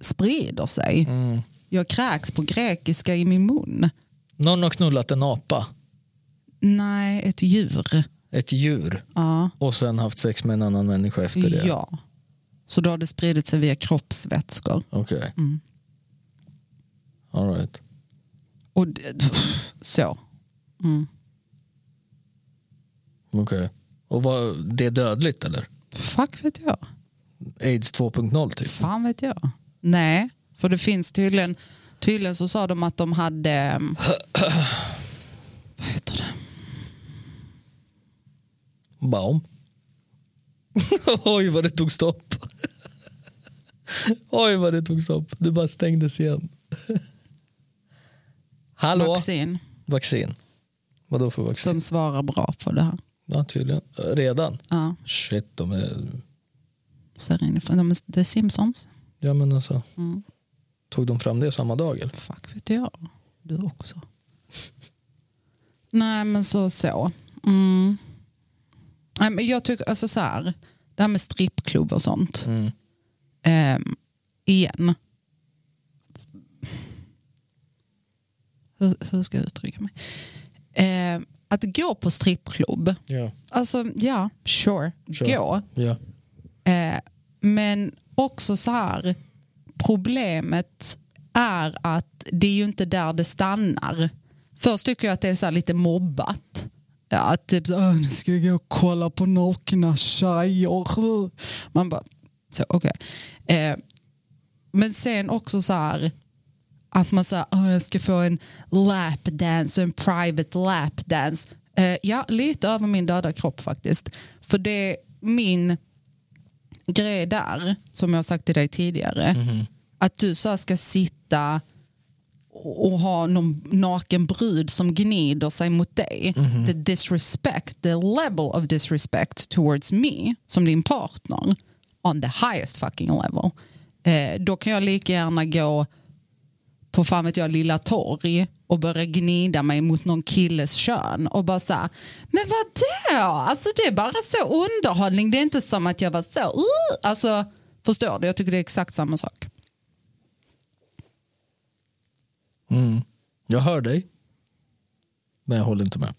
sprider sig.
Mm.
Jag kräks på grekiska i min mun.
Någon har knullat en apa,
Nej, ett djur.
ett djur
Ja.
och sen haft sex med en annan människa efter det.
Ja. Så då har det spridit sig via kroppsvätskor.
Okej.
Mm.
All right.
Och det, så.
Okej. Och vad, det är dödligt eller?
Fuck vet jag.
Aids 2.0 typ?
Fan vet jag. Nej, för det finns tydligen, tydligen så sa de att de hade, um, vad heter det?
Baum. Oj vad det tog stopp. Oj vad det tog stopp. Du bara stängdes igen. Hallå? Vaccin.
Vaccin
vaccin. Vad då för vaccin?
som svarar bra på det här.
Ja, tydligen. Redan?
Ja,
Shit, de är...
så är det inifrån. De är The Simpsons.
Ja, men alltså. Tog de fram det samma dag? Eller?
Fuck vet jag. Du också. Nej men så så. Mm. Nej, men jag tycker, alltså så här. Det här med strippklubb och sånt. Ehm, igen. Hur, hur ska jag uttrycka mig? Ehm, att gå på strippklubb.
Ja.
Alltså ja, sure.
Sure.
Gå.
ja.
Eh, men också så här, problemet är att det är ju inte där det stannar. Först tycker jag att det är så här lite mobbat. Ja, att typ så "Åh, nu ska jag gå och kolla på nakna tjejer. Man bara, så okej. Eh, men sen också så här, att man säger att jag ska få en lapdance, en private lapdance. Eh, ja, lite över min döda kropp faktiskt. För det är min grej där, som jag har sagt till dig tidigare, att du så här ska sitta och ha någon naken brud som gnider sig mot dig. The disrespect, the level of disrespect towards me som din partner on the highest fucking level. Eh, då kan jag lika gärna gå på fan vet jag, Lilla Torg och börja gnida mig mot någon killes kön och bara så här, men vadå? Alltså det är bara så underhållning, det är inte som att jag var så, uh! alltså förstår du? Jag tycker det är exakt samma sak.
Jag hör dig. Men jag håller inte med.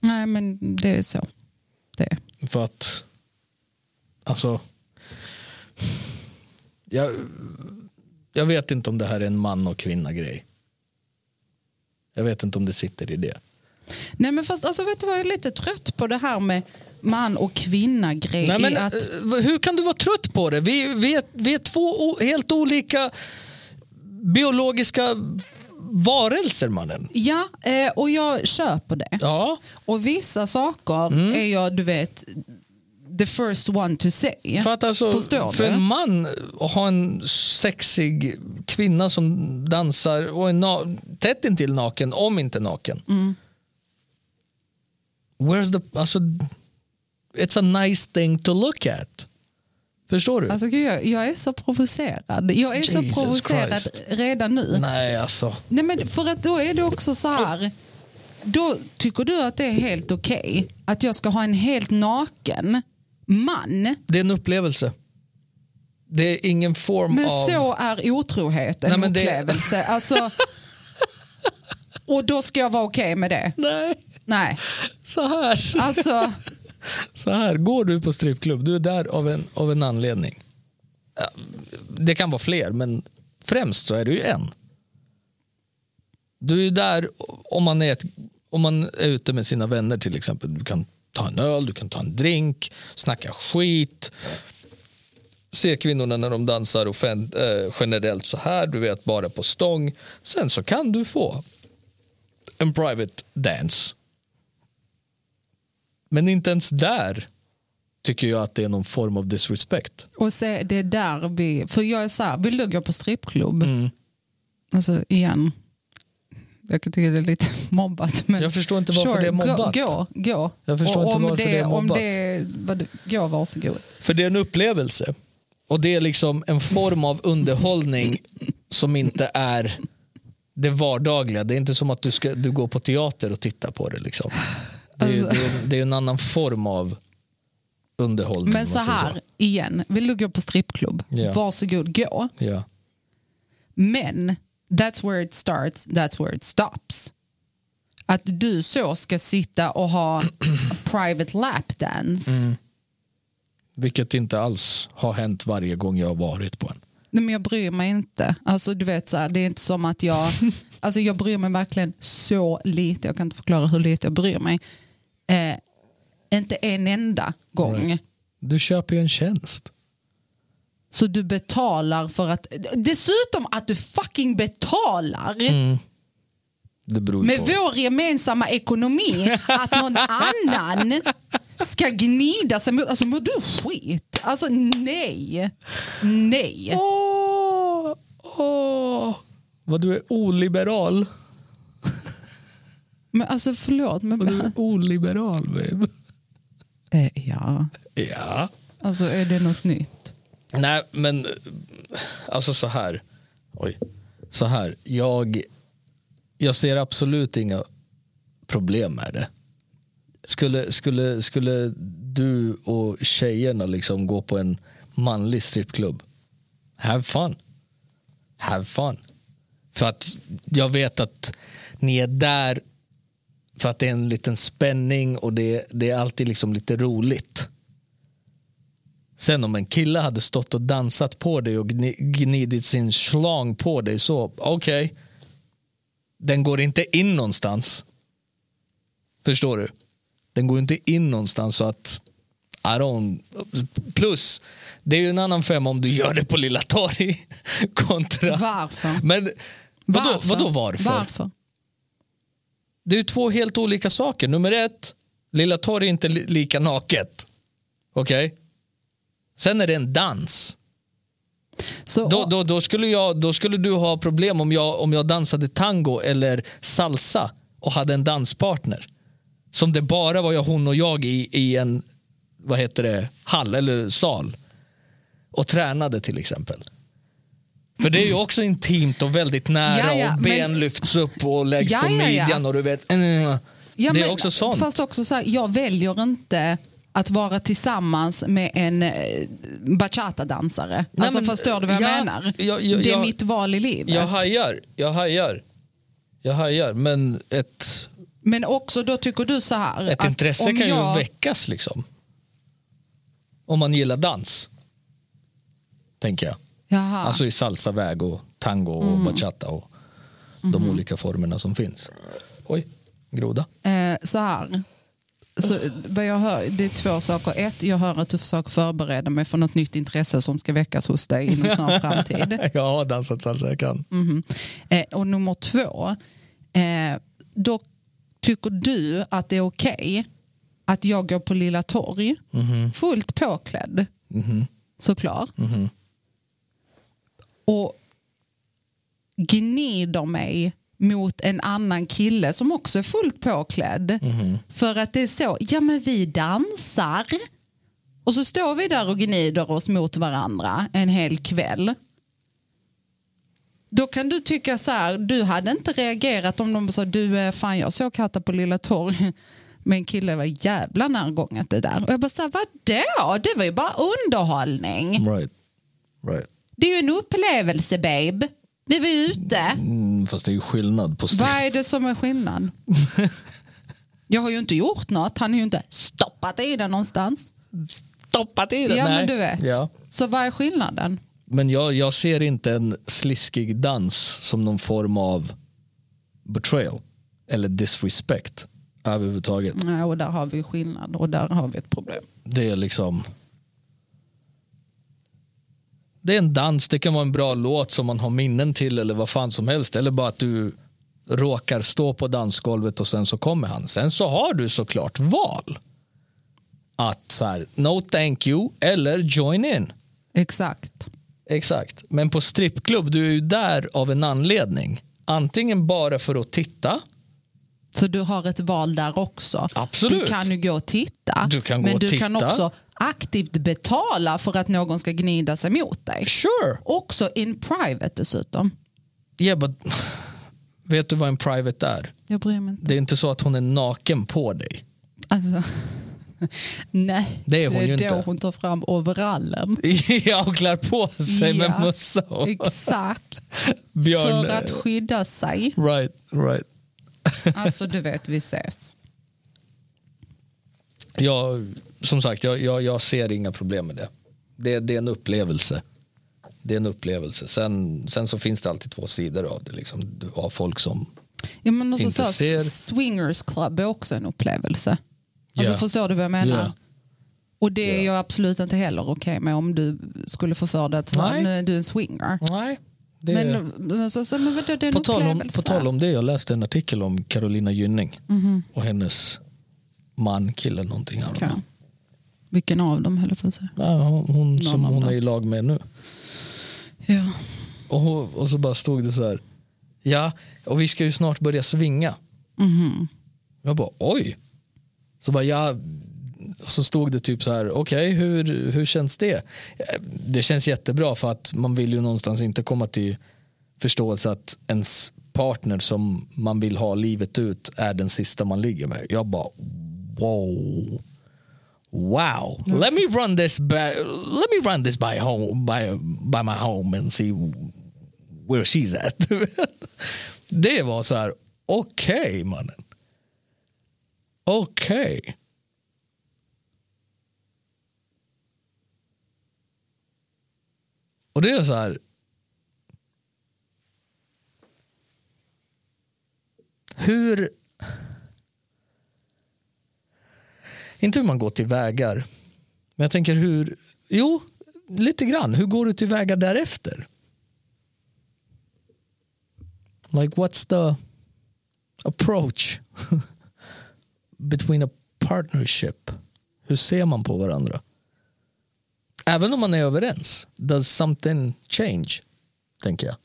Nej men det är så. Det är.
För att, alltså, jag, jag vet inte om det här är en man och kvinna grej. Jag vet inte om det sitter i det.
Nej men fast alltså vet du vad, jag är lite trött på det här med man och kvinna grej
Nej, men,
i att
eh, Hur kan du vara trött på det? Vi, vi, är, vi är två o- helt olika biologiska varelser mannen.
Ja, eh, och jag köper det.
Ja,
Och vissa saker
Mm.
är jag, du vet, the first one to say.
för att alltså,
Förstår
för
du?
en man att ha en sexig kvinna som dansar och är na- tätt intill naken, om inte naken.
Mm.
Where's the, alltså, it's a nice thing to look at. Förstår du?
Alltså, gud, jag, jag är så provocerad. Jag är
Jesus
så provocerad
Christ.
redan nu. Nej.
Nej, alltså.
men för att då är det också så här. Då tycker du att det är helt okej att jag ska ha en helt naken man.
Det är en upplevelse. Det är ingen form
Men
av...
så är otrohet en
Nej, men det-
upplevelse. Alltså, och då ska jag vara okej med det.
Nej,
Nej,
så här.
alltså.
Så här, går du på strippklubb, du är där av en, av en anledning. Ja, Det kan vara fler, men främst så är det ju en. Du är där om man är, ett, om man är ute med sina vänner till exempel. Du kan ta en öl, du kan ta en drink, snacka skit. Se kvinnorna när de dansar offent, eh, generellt så här, du vet bara på stång. Sen så kan du få en private dance. Men inte ens där tycker jag att det är någon form av disrespect.
Och se, det är där vi... För jag är så här, vill du gå på strippklubb?
Mm.
Alltså igen, jag kan tycka det är lite mobbat. Men
Jag förstår inte varför det är mobbat.
Gå, gå. gå.
Jag förstår
och
inte
om
varför det är mobbat.
Om det, vad, gå, varsågod.
För det är en upplevelse. Och det är liksom en form av underhållning som inte är det vardagliga. Det är inte som att du, ska, du går på teater och tittar på det. Liksom. Det, är, det, är, det är en annan form av underhållning.
Men
om
så
man säger
här, igen, vill du gå på strippklubb?
Ja.
Varsågod, gå.
Ja.
Men that's where it starts, that's where it stops. Att du så ska sitta och ha private lap dance.
Vilket inte alls har hänt varje gång jag har varit på en.
Nej, men jag bryr mig inte. Alltså, du vet, så här, det är inte som att jag... Alltså, jag bryr mig verkligen så lite. Jag kan inte förklara hur lite jag bryr mig. Eh, inte en enda gång.
Du köper ju en tjänst.
Så du betalar för att... Dessutom att du fucking betalar
Det beror ju
med
Mm, på.
vår gemensamma ekonomi att någon annan ska gnida sig mot... Alltså mår du skit? Alltså nej. Nej.
Åh, åh. Vad du är oliberal.
Men alltså förlåt. Men,
Vad du är oliberal, babe.
eh, ja.
Ja.
Alltså är det något nytt?
Nej, men eh, alltså så här. Oj. Så här. Jag, jag ser absolut inga problem med det. Skulle, skulle, skulle du och tjejerna liksom gå på en manlig strippklubb? Have fun. Have fun. För att jag vet att ni är där för att det är en liten spänning och det, det är alltid liksom lite roligt. Sen om en kille hade stått och dansat på dig och gni- gnidit sin slang på dig så okej. Den går inte in någonstans. Förstår du? Den går inte in någonstans så att I don't. Plus, Det är ju en annan femma om du gör det på Lilla Torg. Kontra...
Varför?
Men vadå varför? Vadå varför?
Varför?
Det är ju två helt olika saker. Nummer ett, Lilla Torg är inte li- lika naket. Okej? Sen är det en dans.
Så,
Då, då, då, skulle jag, då skulle du ha problem om jag, om jag dansade tango eller salsa och hade en danspartner. Som det bara var jag, hon och jag i, i en vad heter det, hall eller sal och tränade till exempel. För det är ju också intimt och väldigt nära
Ja, ja,
och ben
men-
lyfts upp och läggs
Ja,
på
ja, ja.
midjan och du vet. uh.
Ja,
det är
men-
också sånt.
Fast också så här, jag väljer inte att vara tillsammans med en eh, bachata-dansare.
Nej,
alltså,
men,
förstår du vad jag
ja,
menar?
ja, ja,
det är
ja.
mitt val i livet.
Jag hajar, jag hajar. Jag hajar, men ett,
Men också då tycker du så här.
ett intresse
om
kan
jag,
ju väckas liksom. Om man gillar dans. Tänker jag.
Jaha.
Alltså i salsaväg och tango och
Mm.
bachata och de
Mm-hmm.
olika formerna som finns. Oj, groda.
Eh, så här. Så, vad jag hör, det är två saker. Ett, jag hör att du försöker förbereda mig för något nytt intresse som ska väckas hos dig inom snar framtid.
Jag har dansat salsa, jag kan.
Mhm. Eh, och nummer två, eh, då tycker du att det är okej att jag går på Lilla Torg fullt påklädd, såklart. Och gnider mig mot en annan kille som också är fullt påklädd. För att det är så, ja men vi dansar. Och så står vi där och gnider oss mot varandra en hel kväll. Då kan du tycka så här, du hade inte reagerat om de sa du, eh, fan jag såg katter på Lilla Torg. Men en kille var jävla närgånget det där. Och jag bara så här, vadå? Det var ju bara underhållning.
Right. right.
Det är ju en upplevelse babe. Vi var ju ute.
Mm, fast det är ju skillnad på stil.
Vad är det som är skillnad? Jag har ju inte gjort något. Han har ju inte stoppat i den någonstans.
Stoppa till
Ja,
Nej.
men du vet.
Ja.
Så vad är skillnaden?
Men jag, jag ser inte en sliskig dans som någon form av betrayal eller disrespect överhuvudtaget.
Nej, och där har vi skillnad och där har vi ett problem.
Det är liksom... Det är en dans, det kan vara en bra låt som man har minnen till eller vad fan som helst. Eller bara att du råkar stå på dansgolvet och sen så kommer han. Sen så har du såklart val. Att så här, no thank you eller join in.
Exakt.
Exakt. Men på strippklubb, du är ju där av en anledning. Antingen bara för att titta.
Så du har ett val där också.
Absolut.
Du kan ju gå och titta.
Du kan gå
men
och
du
titta.
kan också aktivt betala för att någon ska gnida sig mot dig.
Sure.
Också in private dessutom.
Yeah, but, vet du vad en private är?
Jag bryr mig inte.
Det är inte så att hon är naken på dig.
Alltså, nej,
Det är hon
det är
ju
då
inte.
hon tar fram overallen.
ja, och klär på sig med
Ja,
mössa och
Exakt.
björn. eh,
För att skydda sig.
Right, right.
Alltså du vet, vi ses.
Jag, som sagt, jag, jag, jag ser inga problem med det. det. Det är en upplevelse. Det är en upplevelse. Sen, sen så finns det alltid två sidor av det. Liksom. Du har folk som...
Ja, men också så,
Inte ser.
swingers club är också en upplevelse. Alltså
Ja.
förstår du vad jag menar?
Ja.
Och det är jag absolut inte heller okej med om du skulle få för dig att vara-
Nej.
nu är du en swinger.
Nej. Det är...
Men, men, så, så, men vadå, det är en
På tal, om,
upplevelse.
på tal om det, jag läste en artikel om Carolina Gynning och hennes man, kille, någonting.
Ja.
Okay.
Vilken av dem höll jag på att säga.
Ja, hon hon som
av
hon
dem.
är i lag med nu.
Ja.
Och, hon, och så bara stod det så här, ja, och vi ska ju snart börja svinga. Jag bara, oj. Så bara, ja, och så stod det typ så här, okej, hur, hur känns det? Eh, Det känns jättebra för att man vill ju någonstans inte komma till förståelse att ens partner som man vill ha livet ut är den sista man ligger med. Jag bara, wow. Wow, let me run this by, let me run this by home by, by my home and see where she's at. det var så här, okej mannen. Okej. Och det är så här. Hur... Inte hur man går till vägar. Men jag tänker hur... Jo, lite grann, hur går du tillväga därefter? Like what's the approach between a partnership? Hur ser man på varandra? Även om man är överens, does something change? Tänker jag.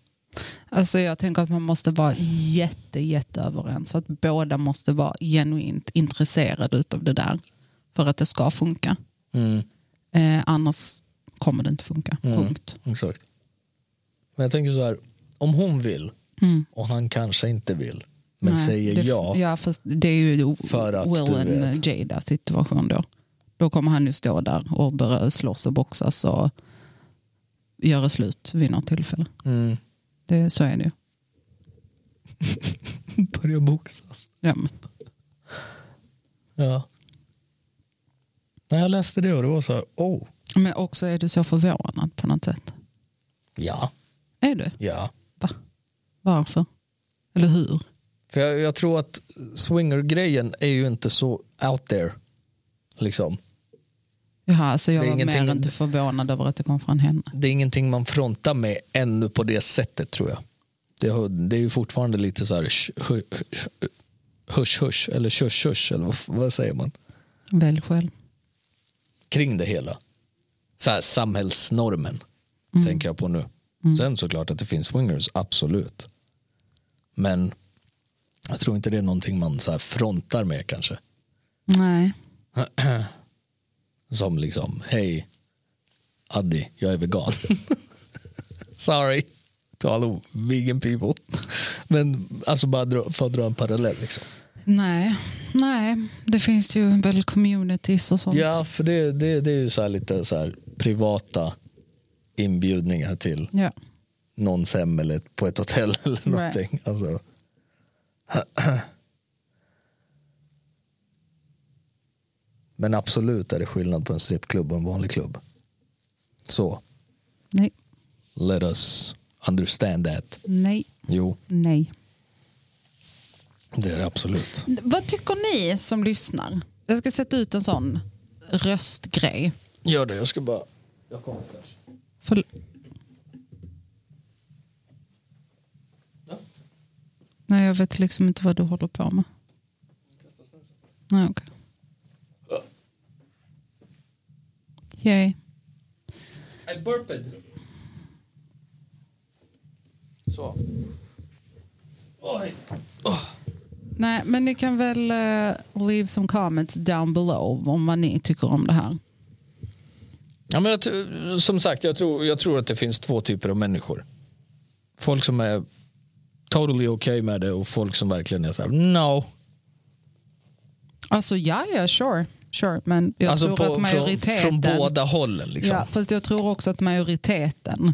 Alltså jag tänker att man måste vara jätte, jätte överens. Så att båda måste vara genuint intresserade utav det där. För att det ska funka.
Mm.
Eh, annars kommer det inte funka. Punkt.
Exakt. Mm, Men jag tänker så här, om hon vill
Mm.
och han kanske inte vill, men
Nej,
säger
det,
ja.
Ja, fast det är ju o-
För att du
Will
vet.
and Jada situation då. Då kommer han ju stå där och börja slåss och boxas och göra slut vid något tillfälle.
Mm.
Det, så är det ju.
Börjar boxas.
Ja, men.
Ja. När jag läste det och det var så här, oh.
men också är du så förvånad på något sätt.
Ja,
Är du?
ja.
Va? Varför? Eller hur?
För jag, jag tror att swinger-grejen är ju inte så out there. Liksom.
Jaha, alltså jag
Det är
var
ingenting-
mer inte förvånad över att det kom från henne.
Det är ingenting man frontar med ännu på det sättet tror jag. Det, har- det är ju fortfarande lite så här sh- hu- hu- hush hush eller shush hush eller vad, vad säger man?
Välj själv.
Kring det hela. Så här, samhällsnormen tänker jag på nu. Sen såklart att det finns swingers, absolut. Men jag tror inte det är någonting man så här frontar med kanske.
Nej.
Som liksom, hej Addi, jag är vegan. Sorry to all vegan people. Men alltså bara dra, för att dra en parallell. Liksom.
Nej. Nej, det finns ju väl communities och sånt.
Ja, för det, det, det är ju så här lite så här privata inbjudningar till
Ja.
någons hem eller på ett hotell eller någonting. Alltså. Men absolut är det skillnad på en strippklubb och en vanlig klubb. Så.
Nej,
let us understand that.
nej,
Jo,
nej.
det är det absolut.
Vad tycker ni som lyssnar? Jag ska sätta ut en sån röstgrej.
Gör det, jag ska bara... Jag kommer strax.
För... Nej, jag vet liksom inte vad du håller på med. Nej, okej. Yay.
I burped. Så. Oj.
Nej, men ni kan väl eh, leave some comments down below om vad ni tycker om det här.
Ja, men jag, tr- som sagt, jag tror, jag tror att det finns två typer av människor. Folk som är totally okay med det och folk som verkligen är så här, no.
Alltså ja, ja, sure. sure. Men jag
alltså
tror att
från,
majoriteten...
från båda hållen. Liksom. Mm.
Ja, fast jag tror också att majoriteten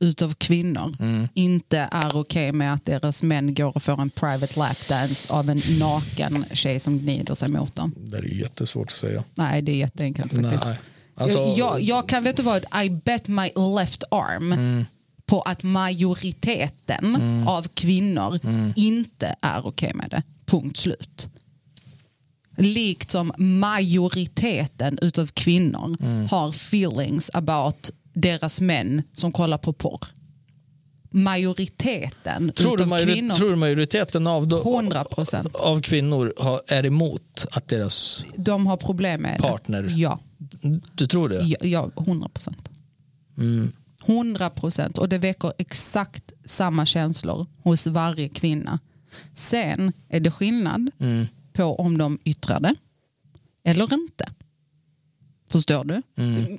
utav kvinnor inte är okej med att deras män går och får en private lapdance av en naken tjej som gnider sig mot dem.
Det är jättesvårt att säga.
Nej, det är jätteenkelt faktiskt.
Nej. Alltså,
jag, Eh, jag, jag kan, vet du vad, I bet my left arm
Mm.
på att majoriteten av kvinnor
Mm.
inte är okej med det. Punkt slut. Likt som majoriteten utav kvinnor
Mm.
har feelings about deras män som kollar på porr. Majoriteten
Tror du,
utav
majori-
kvinnor,
tror du majoriteten av, då,
100 procent,
av kvinnor har, är emot att deras...
de har problem med
Partner.
det. Ja.
Du tror det?
Ja, ja 100 procent. 100 procent. Och det väcker exakt samma känslor hos varje kvinna. Sen är det skillnad på om de yttrar det eller inte. Förstår du?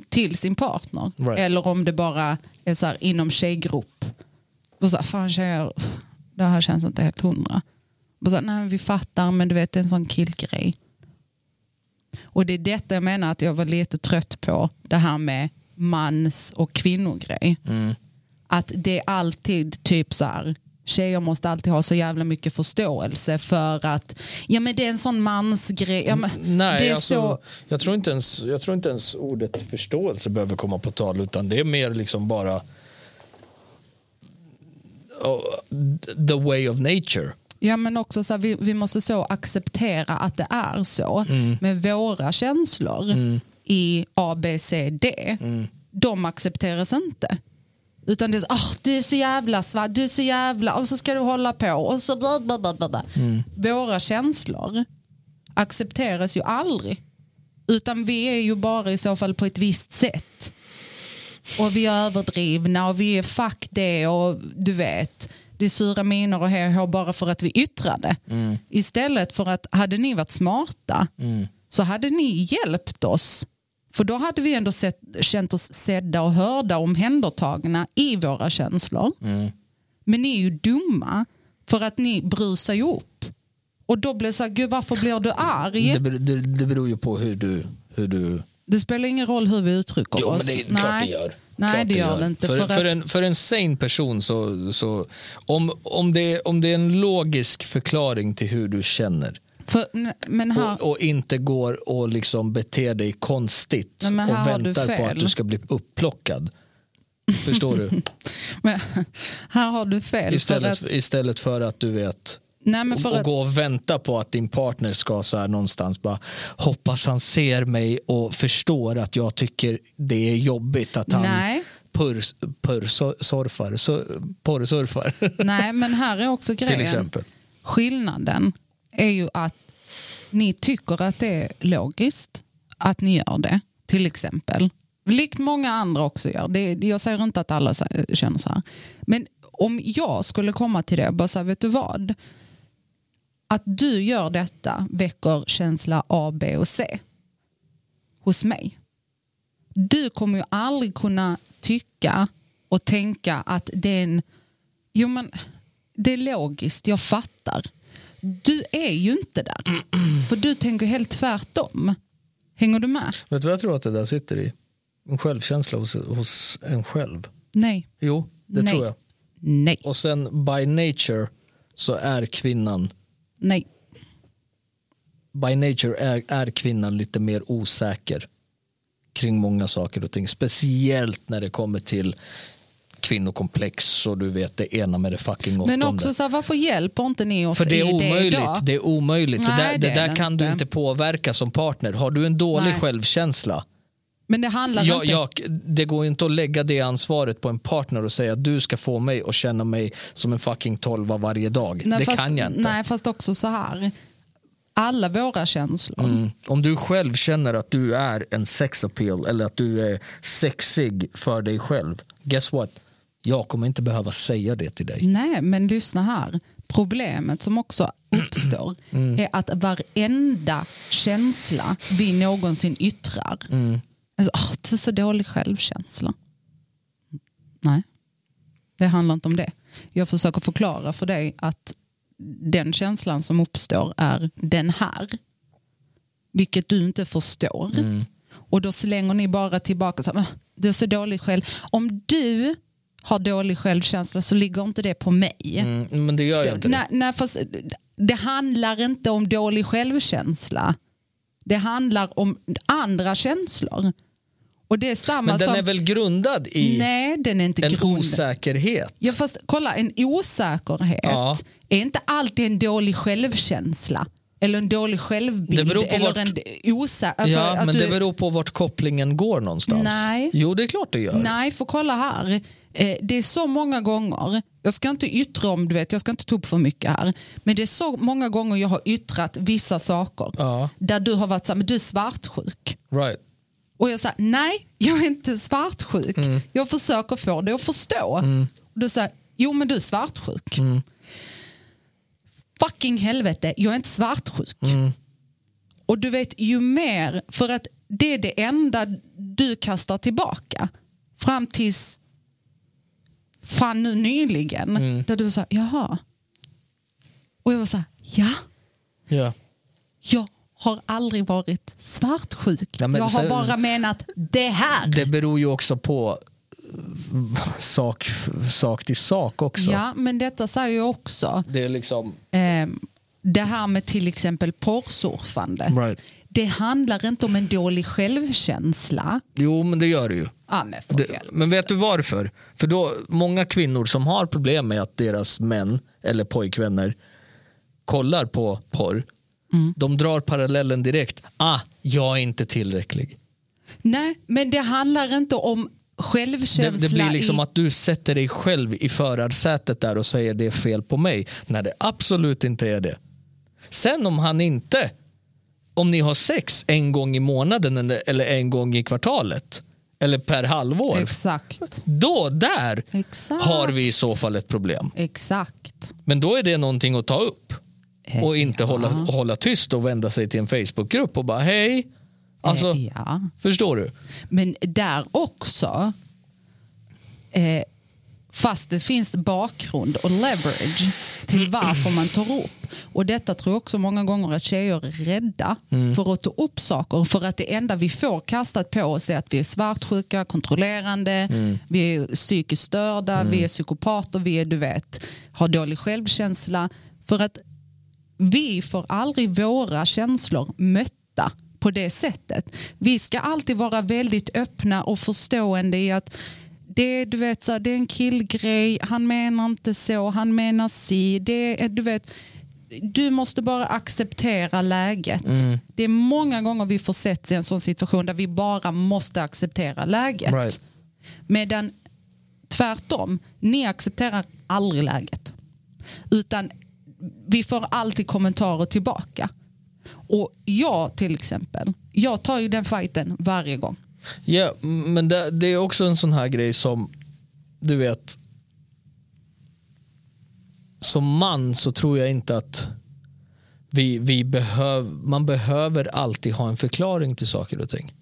Till sin partner.
Right.
Eller om det bara är så här inom tjejgrupp. Och så här, fan tjejer, det här känns inte helt hundra. Och så här, Nej, men vi fattar, men du vet det är en sån killgrej. Och det är detta jag menar att jag var lite trött på. Det här med mans och kvinnogrej.
Mm.
Att det är alltid typ så här. Tjejer måste alltid ha så jävla mycket förståelse för att ja men det är en sån mansgrej. Ja, men
Nej,
det är
alltså,
så...
jag, tror inte ens, jag tror inte ens ordet förståelse behöver komma på tal utan det är mer liksom bara oh, the way of nature.
Ja men också så här, vi, vi måste så acceptera att det är så. Men våra känslor i A, B, C, D. de accepteras inte. Utan det är så, "Ah, du är så jävla svart, du är så jävla, och så ska du hålla på och så bla bla bla. bla. bla." Våra känslor accepteras ju aldrig. Utan vi är ju bara i så fall på ett visst sätt. Och vi är överdrivna och vi är fuck det och du vet. Det är sura miner och hej och hå bara för att vi yttrade. Istället för att hade ni varit smarta så hade ni hjälpt oss. För då hade vi ändå sett, känt oss sedda och hörda och omhändertagna i våra känslor. Men ni är ju dumma för att ni brusar ju upp. Och då blir det så här, gud varför blir du arg?
Det, ber- det, det beror ju på hur du... Hur du
Det spelar ingen roll hur vi uttrycker
Jo,
oss.
men det är
Nej.
klart det gör.
Nej,
Klart
det gör det inte.
För,
För,
för,
att,
en, för en sane person så... så om, om, det, om det är en logisk förklaring till hur du känner
för, n- men här,
och, och inte går och liksom beter dig konstigt
Nej, men här
och
har du
väntar på
fel.
att du ska bli upplockad. Förstår du?
men, här har du fel.
Istället,
för att,
istället för att du vet
nej, men för
och, och
att,
gå och vänta på att din partner ska så här någonstans bara hoppas han ser mig och förstår att jag tycker det är jobbigt att han
Nej.
purr- purrsurfar, så- porrsurfar
nej, men här är också
till
grejen.
exempel.
Skillnaden är ju att ni tycker att det är logiskt att ni gör det, till exempel. Likt många andra också gör. Det, det- jag säger inte att alla sä- känner så här. Men om jag skulle komma till det och bara säga, vet du vad? Att du gör detta väcker känsla A, B och C hos mig. Du kommer ju aldrig kunna tycka och tänka att det är en... Jo, men det är logiskt, jag fattar. Du är ju inte där. För du tänker helt tvärtom. Hänger du med?
Vet du vad jag tror att det där sitter i? En självkänsla hos, hos en själv.
Nej.
Jo, det
Nej.
tror jag.
Nej.
Och sen by nature så är kvinnan
Nej.
by nature är, är kvinnan lite mer osäker kring många saker och ting. Speciellt när det kommer till kvinnokomplex och du vet det ena med det fucking
Men
åttonde.
också så här, varför hjälper inte ni oss
För det är
i det
omöjligt.
idag?
Det är omöjligt.
Nej,
det där,
det
det
är
där
det
kan
inte.
du inte påverka som partner. Har du en dålig
Nej.
självkänsla,
Men det handlar
jag,
inte...
jag, det går ju inte att lägga det ansvaret på en partner och säga du ska få mig att känna mig som en fucking tolva varje dag.
Nej,
det
fast,
kan jag inte.
Nej, fast också så här. Alla våra känslor.
Mm. Om du själv känner att du är en sex appeal eller att du är sexig för dig själv, guess what? Jag kommer inte behöva säga det till dig.
Nej, men lyssna här. Problemet som också uppstår är att varenda känsla vi någonsin yttrar. Alltså, åh, du är så dålig självkänsla. Nej, det handlar inte om det. Jag försöker förklara för dig att den känslan som uppstår är den här. Vilket du inte förstår. Och då slänger ni bara tillbaka. Så, här, "Ah, du är så dålig själv. Om du har dålig självkänsla så ligger inte det på mig.
Mm, men det gör jag inte.
Nej, nej, fast det handlar inte om dålig självkänsla. Det handlar om andra känslor. Och det är samma
men den
som...
är väl grundad i
alltså- nej, den är inte
en
grunden.
osäkerhet?
Ja, fast kolla, en osäkerhet
Ja.
är inte alltid en dålig självkänsla. Eller en dålig
Det
självbild.
beror på
Eller
vart-
en osä... alltså,
ja,
att
men
du-
det beror på vart kopplingen går någonstans.
Nej.
Jo, det är klart det gör.
Nej, för kolla här. Eh, Det är så många gånger, jag ska inte yttra om, du vet, jag ska inte ta upp för mycket här, men det är så många gånger jag har yttrat vissa saker
Ja.
där du har varit så här, men du är svartsjuk.
Right.
Och jag sa, nej, jag är inte svartsjuk. Jag försöker få dig att förstå. Och du säger, jo men du är svartsjuk. Fucking helvete, jag är inte svartsjuk. Och du vet, ju mer, för att det är det enda du kastar tillbaka. Fram tills, fan nu nyligen, där du sa, jaha. Och jag var så här, ja,
Ja.
jag har aldrig varit svartsjuk.
Ja, men
jag har
sen-
bara menat det här.
Det beror ju också på eh, sak, sak till sak också.
Ja, men detta säger jag också.
Det är liksom...
Ehm, det här med till exempel porrsurfande.
Right.
Det handlar inte om en dålig självkänsla.
Jo, men det gör det ju.
Ja, men för
Det,
helvete.
men vet du varför? För då, många kvinnor som har problem med att deras män eller pojkvänner kollar på porr, de drar parallellen direkt. Ah, jag är inte tillräcklig.
Nej, men det handlar inte om
Det,
självkänsla
det blir liksom
i...
att du sätter dig själv i förarsätet där och säger det är fel på mig. När det absolut inte är det. Sen om han inte, om ni har sex en gång i månaden eller- eller en gång i kvartalet eller per halvår.
Exakt.
Då, där
Exakt.
har vi i så fall ett problem.
Exakt.
Men då är det någonting att ta upp och inte
Ja.
hålla, hålla tyst och vända sig till en Facebookgrupp och bara hej. Alltså,
Eh, ja.
förstår du?
Men där också, eh, fast det finns bakgrund och leverage till varför man tar upp. Och detta tror jag också många gånger att tjejer är rädda för att ta upp saker. För att det enda vi får kastat på oss är att vi är svartsjuka, kontrollerande, vi är psykiskt störda, vi är psykopater, vi är, du vet, har dålig självkänsla. För att vi får aldrig våra känslor mötta på det sättet. Vi ska alltid vara väldigt öppna och förstående i att det, är, du vet, så här, det är en killgrej, han menar inte så, han menar si. Det är, du, vet, du måste bara acceptera läget. Det är många gånger vi får sett i en sån situation där vi bara måste acceptera läget.
Right.
Medan tvärtom, ni accepterar aldrig läget. Utan vi får alltid kommentarer tillbaka. Och jag till exempel, jag tar ju den fighten varje gång.
Ja, men det, det är också en sån här grej som, du vet, som man så tror jag inte att vi, vi behöv, man behöver alltid ha en förklaring till saker och ting.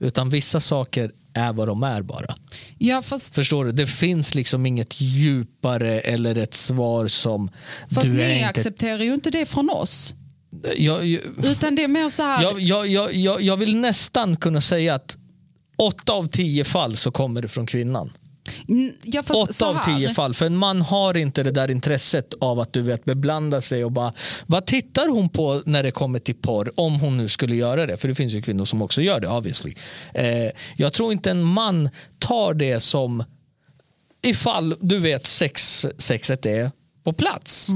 Utan vissa saker är vad de är bara.
Ja, fast,
Förstår du? Det finns liksom inget djupare eller ett svar som
fast
du är
ni
inte...
accepterar ju inte det från oss.
Jag, jag,
Utan det är mer så här,
jag, jag, jag, jag, jag vill nästan kunna säga att åtta av tio fall så kommer det från kvinnan.
Mm, ja, fast så
åtta av
här.
tio fall. För en man har inte det där intresset av att du vet beblanda sig och bara vad tittar hon på när det kommer till porr om hon nu skulle göra det. För det finns ju kvinnor som också gör det obviously. Eh, jag tror inte en man tar det som ifall du vet sex, sexet är på plats.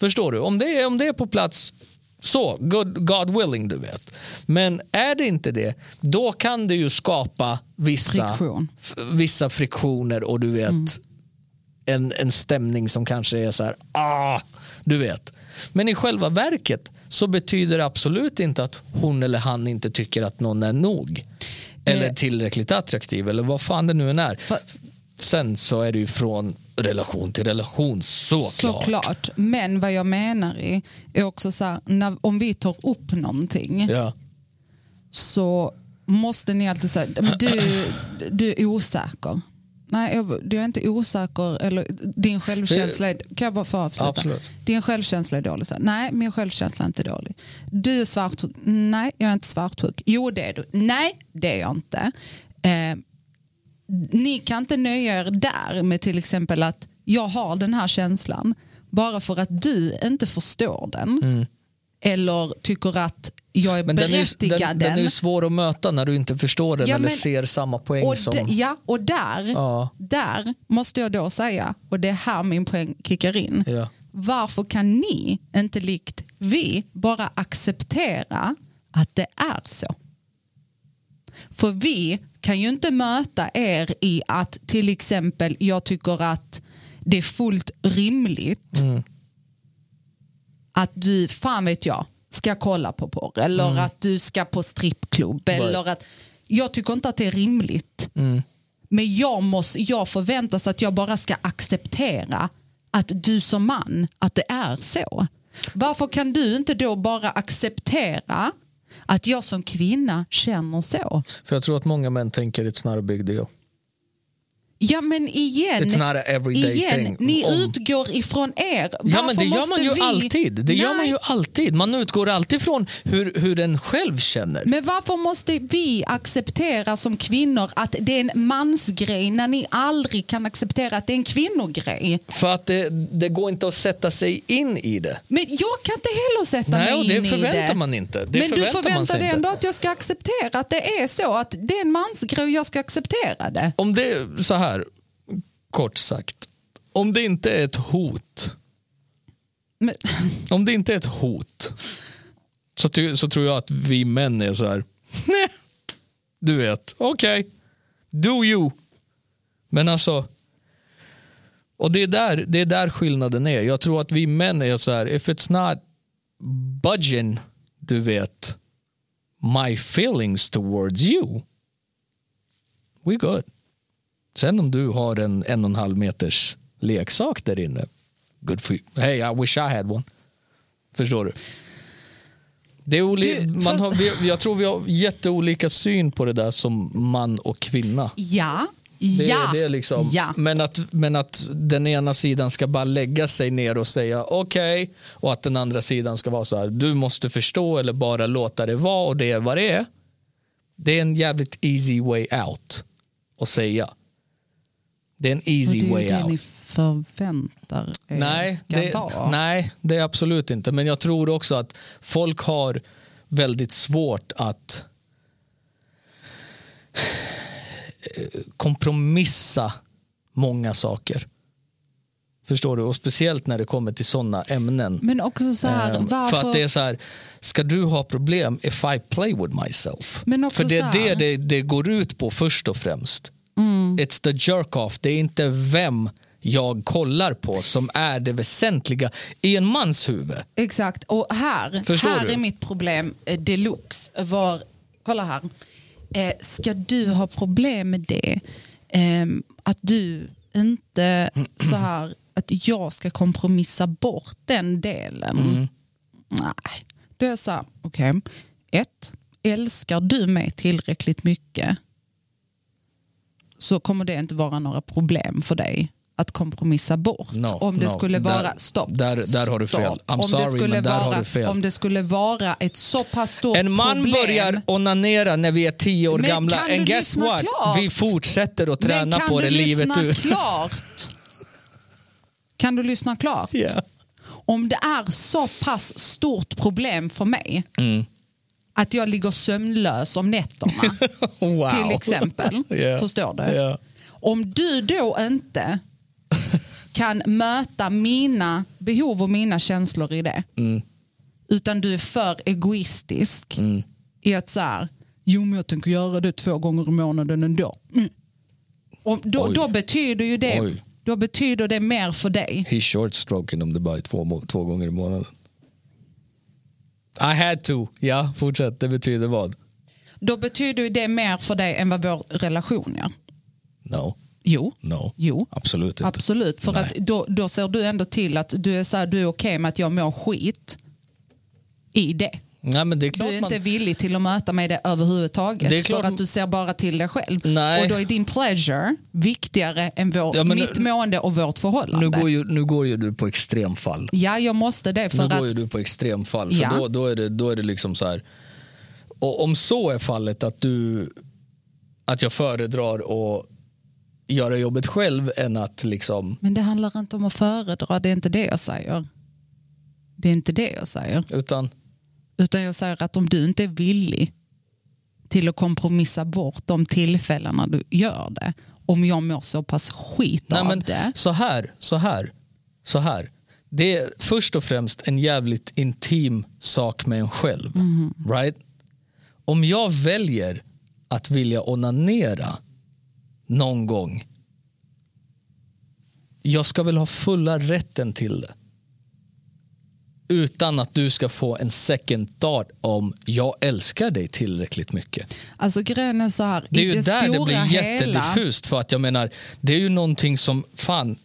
Förstår du? Om det, är, om det är på plats så, God, God willing du vet. Men är det inte det, då kan det ju skapa vissa
Friktion.
f- vissa friktioner och du vet en, en stämning som kanske är så här, ah, du vet. Men i själva verket så betyder det absolut inte att hon eller han inte tycker att någon är nog. Eller
Eh.
tillräckligt attraktiv eller vad fan det nu än är. Sen så är det ju från relation till relation såklart.
Såklart. Men vad jag menar är, är också så här, när, om vi tar upp någonting
Ja.
så måste ni alltid säga "Men du, du är osäker. Nej, jag, du är inte osäker. Eller, din självkänsla är, kan jag bara få avsluta?
Absolut.
Din självkänsla är dålig. Så, här, nej, min självkänsla är inte dålig. Du är svartsjuk. Nej, jag är inte svartsjuk. Jo, det är du. Nej, det är jag inte. Eh, ni kan inte nöja er där med till exempel att jag har den här känslan bara för att du inte förstår den eller tycker att jag är
Mm. Men den är, ju-
berättigad
den, den är ju svår att möta när du inte förstår den
Ja,
eller
men-
ser samma poäng
och
som...
d- Ja, och där,
Ja.
där måste jag då säga, och det är här min poäng kickar in.
Ja.
Varför kan ni inte likt vi bara acceptera att det är så? För vi kan ju inte möta er i att till exempel jag tycker att det är fullt rimligt att du, fan vet jag, ska kolla på porr eller att du ska på strippklubb. Eller att, jag tycker inte att det är rimligt. Men jag, måste, jag förväntas att jag bara ska acceptera att du som man, att det är så. Varför kan du inte då bara acceptera att jag som kvinna känner så?
För jag tror att många män tänker it's not a big deal.
Ja men igen,
It's not a everyday
igen
thing.
ni
Om-
utgår ifrån er.
Ja,
Varför
men det gör
måste
man ju
vi...
alltid. Det gör man
Nej,
ju alltid. Man utgår alltid från hur, hur den själv känner.
Men varför måste vi acceptera som kvinnor att det är en mansgrej när ni aldrig kan acceptera att det är en kvinnogrej?
För att det, det går inte att sätta sig in i det.
Men jag kan inte heller sätta
Nej,
mig
och det
in i
förväntar
det.
man inte. Det
men du
förväntar man sig
förväntar dig
inte.
ändå att jag ska acceptera att det är så, att det är en mansgrej och jag ska acceptera det.
Om det så här, kort sagt. Om det inte är ett hot.
Men,
Om det inte är ett hot. Så, ty, så tror jag att vi män är så här. Nej. Du vet, okej. Do you! Men alltså, och det är där, det är där skillnaden är. Jag tror att vi män är så här, if it's not budging, du vet, my feelings towards you, we good. Sen om du har en en och en halv meters leksak där inne, good for you. Hey, I wish I had one. Förstår du? Det är oli-
Du,
man
fast-
har, vi, jag tror vi har jätteolika syn på det där som man och kvinna.
Ja,
Det är-
ja,
det är liksom,
ja.
men, att, men att den ena sidan ska bara lägga sig ner och säga okej och att den andra sidan ska vara så här du måste förstå eller bara låta det vara och det är vad det är. Det är en jävligt easy way out att säga. Det är en
Och
easy
det är
way
ju det
out.
ni förväntar er
Nej
ska
det,
vara.
nej, det är absolut inte. Men jag tror också att folk har väldigt svårt att eh, kompromissa många saker. Förstår du? Och speciellt när det kommer till sådana ämnen.
Men också så här,
Ehm,
varför...
För att det är så här, ska du ha problem if I play with myself?
Men också
för det
så
är
här- Mm.
det, det det går ut på först och främst. It's the jerk off, det är inte vem jag kollar på som är det väsentliga i en mans huvud.
Exakt, och här,
Förstår
här
du?
är mitt problem eh, deluxe. Var, kolla här. Eh, ska du ha problem med det? Ehm, att du inte så här, att jag ska kompromissa bort den delen.
Mm.
Nej, då är jag så här, okej. Ett, älskar du mig tillräckligt mycket så kommer det inte vara några problem för dig att kompromissa bort.
No,
om det
no.
skulle
Där-
vara, stopp.
där- där har du
stopp.
fel. I'm
om
sorry,
det skulle
men där
vara,
har du fel.
Om det skulle vara ett så pass stort
En man
problem.
börjar onanera när vi är tio år
Men
gamla.
kan du
And guess
lyssna
what?
klart?
Vi fortsätter att träna
Men kan
på
du
det livet
lyssna
ut.
klart? Kan du lyssna klart?
Ja.
Om det är så pass stort problem för mig
Mm.
att jag ligger sömnlös om nätterna
Wow.
till exempel.
Ja.
Förstår du?
Ja.
Om du då inte kan möta mina behov och mina känslor i det.
Mm.
Utan du är för egoistisk
Mm.
i att så här, jo men jag tänker göra det två gånger i månaden ändå. Mm. Och då,
Oj.
då betyder ju det,
Oj.
då betyder det mer för dig.
He's short stroking om det bara är två, må- två gånger i månaden. I had to. Ja, fortsätt. Det betyder vad?
Då betyder ju det mer för dig än vad vår relation gör.
No.
Jo.
No.
Jo.
Absolut inte.
Absolut, för
typ. Nej.
att då, då ser du ändå till att du är, så här, du är okej med att jag mår skit i det.
Nej, men det är
Du
klart
är
man...
inte villig till att möta mig det överhuvudtaget
Det är klart-
för att du ser bara till dig själv.
Nej.
Och då är din pleasure viktigare än vår,
Ja, men nu-
mitt mående och vårt
Nu
förhållande.
går, ju, nu går ju du på extremfall.
Ja, jag måste det
Nu
för att...
går ju du på extremfall. För
Ja.
då, då, är det, då är det liksom så här. Och om så är fallet att du att jag föredrar att göra jobbet själv än att liksom
Men det handlar inte om att föredra, det är inte det jag säger. Det är inte det jag säger.
utan
Utan jag säger att om du inte är villig till att kompromissa bort de tillfällena du gör det, om jag mår så pass skit
Nej,
av
men
det.
Så här, så här, så här. Det är först och främst en jävligt intim sak med en själv. Right? Om jag väljer att vilja onanera någon gång. Jag ska väl ha fulla rätten till det. Utan att du ska få en second thought om jag älskar dig tillräckligt mycket.
Alltså grejen är så här,
Det är
i
ju
det
där
stora
det blir
hela,
jättediffust för att jag menar, det är ju någonting som fan,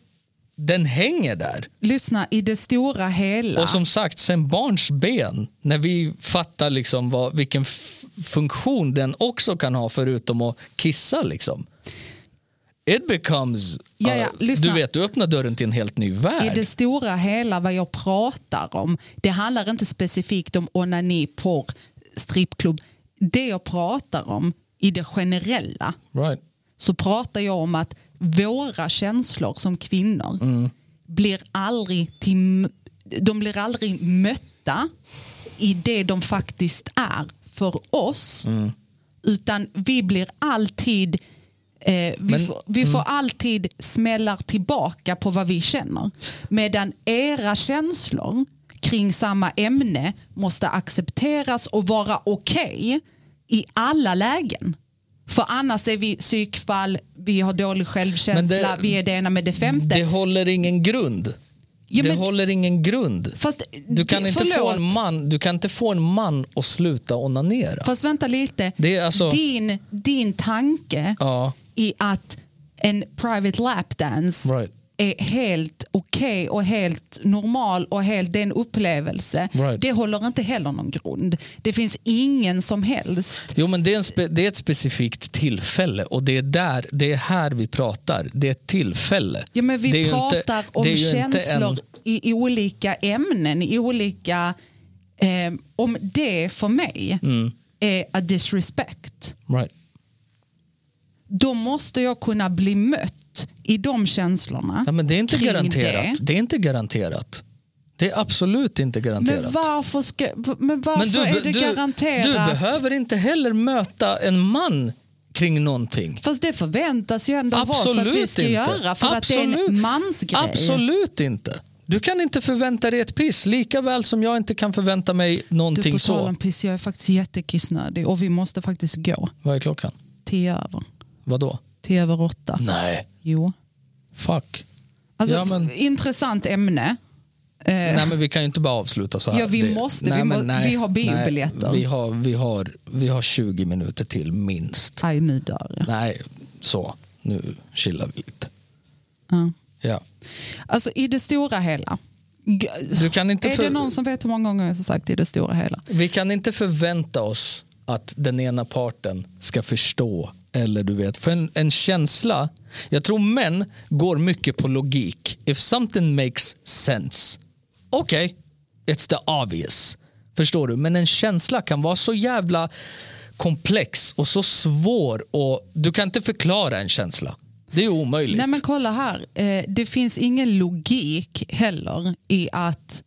den hänger där.
lyssna, i det stora hela,
Och som sagt, sen barnsben, när vi fattar liksom vad, vilken f- funktion den också kan ha förutom att kissa liksom. It becomes,
Ja, ja,
uh, du
lyssna.
vet, du öppnar dörren till en helt ny
i
värld.
det stora hela vad jag pratar om, det handlar inte specifikt om onani, porr, strippklubb. Det jag pratar om i det generella,
Right.
så pratar jag om att våra känslor som kvinnor blir aldrig till, de blir aldrig mötta i det de faktiskt är för oss. Utan vi blir alltid eh, vi, får, vi
mm.
får alltid smällar tillbaka på vad vi känner. Medan era känslor kring samma ämne måste accepteras och vara okej i alla lägen. För annars är vi psykfall, vi har dålig självkänsla,
Men det-
vi är det ena med det femte.
Det håller ingen grund.
Ja,
det
men-
håller ingen grund.
Fast,
Du kan,
det-
inte få
förlåt.
en man, du kan inte få en man att sluta onanera.
Fast vänta lite.
Det är alltså-
din, din tanke
Ja,
i att en private lapdance
Right.
är helt okej och helt normal och helt, det är en upplevelse.
Right.
Det håller inte heller någon grund. Det finns ingen som helst.
Jo, men det är, en spe, det är ett specifikt tillfälle och det är, där, det är här vi pratar. Det är ett tillfälle.
Ja, men vi
det är ju
pratar om
det är ju inte
känslor i, i olika ämnen, i olika... Eh, om det för mig
Mm.
är a disrespect,
En, right.
då måste jag kunna bli mött i de känslorna.
ja, men det är inte
kring
garanterat. Det.
det.
är inte garanterat. Det är absolut inte garanterat.
Men varför, ska, men varför
Men
är
be-
det garanterat?
Du behöver inte heller möta en man kring någonting.
Fast det förväntas ju ändå vara så att vi
Absolut
ska
inte.
göra för att det är
Absolut.
en mansgrej.
Absolut inte. Du kan inte förvänta dig ett piss, lika väl som jag inte kan förvänta mig
Du,
någonting
på tal
så.
om piss, jag är faktiskt jättekissnödig och vi måste faktiskt gå.
Vad är klockan?
Tio över.
Vadå?
Tio över åtta.
Nej.
Jo.
Fuck.
Alltså,
Ja, men-
Intressant ämne. Eh,
Nej men vi kan ju inte bara avsluta så här.
Ja, vi
Det-
måste. Vi
men
må- vi har biobiljetter.
Nej, vi, har, vi, har, vi har 20 minuter till minst.
Aj, nu dör jag.
Nej, så. Nu chillar vi lite.
Ja.
Ja.
Alltså i det stora hela. G-
Du kan inte
Är
för-
det någon som vet hur många gånger jag har sagt i det stora hela?
Vi kan inte förvänta oss att den ena parten ska förstå. Eller du vet, för en, en känsla. Jag tror män går mycket på logik. If something makes sense. Okej, it's the obvious. Förstår du? Men en känsla kan vara så jävla komplex och så svår. Och Du kan inte förklara en känsla. Det är omöjligt.
Nej men kolla här, eh, det finns ingen logik heller i att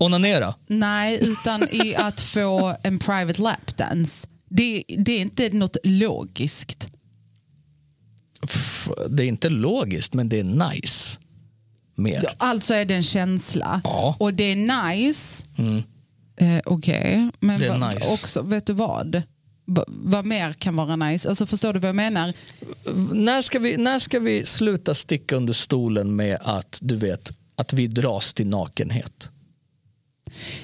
Onanera.
Nej, utan i att få en private lapdance. Det, det är inte något logiskt.
F- Det är inte logiskt, men det är nice. Mer.
Alltså är det en känsla.
Ja. Mm.
Och det är nice. Eh, Okej, men
Det är
vad-
nice.
också, vet du vad? Va- vad mer kan vara nice? Alltså förstår du vad jag menar?
när ska, vi, när ska vi sluta sticka under stolen med att du vet att vi dras till nakenhet?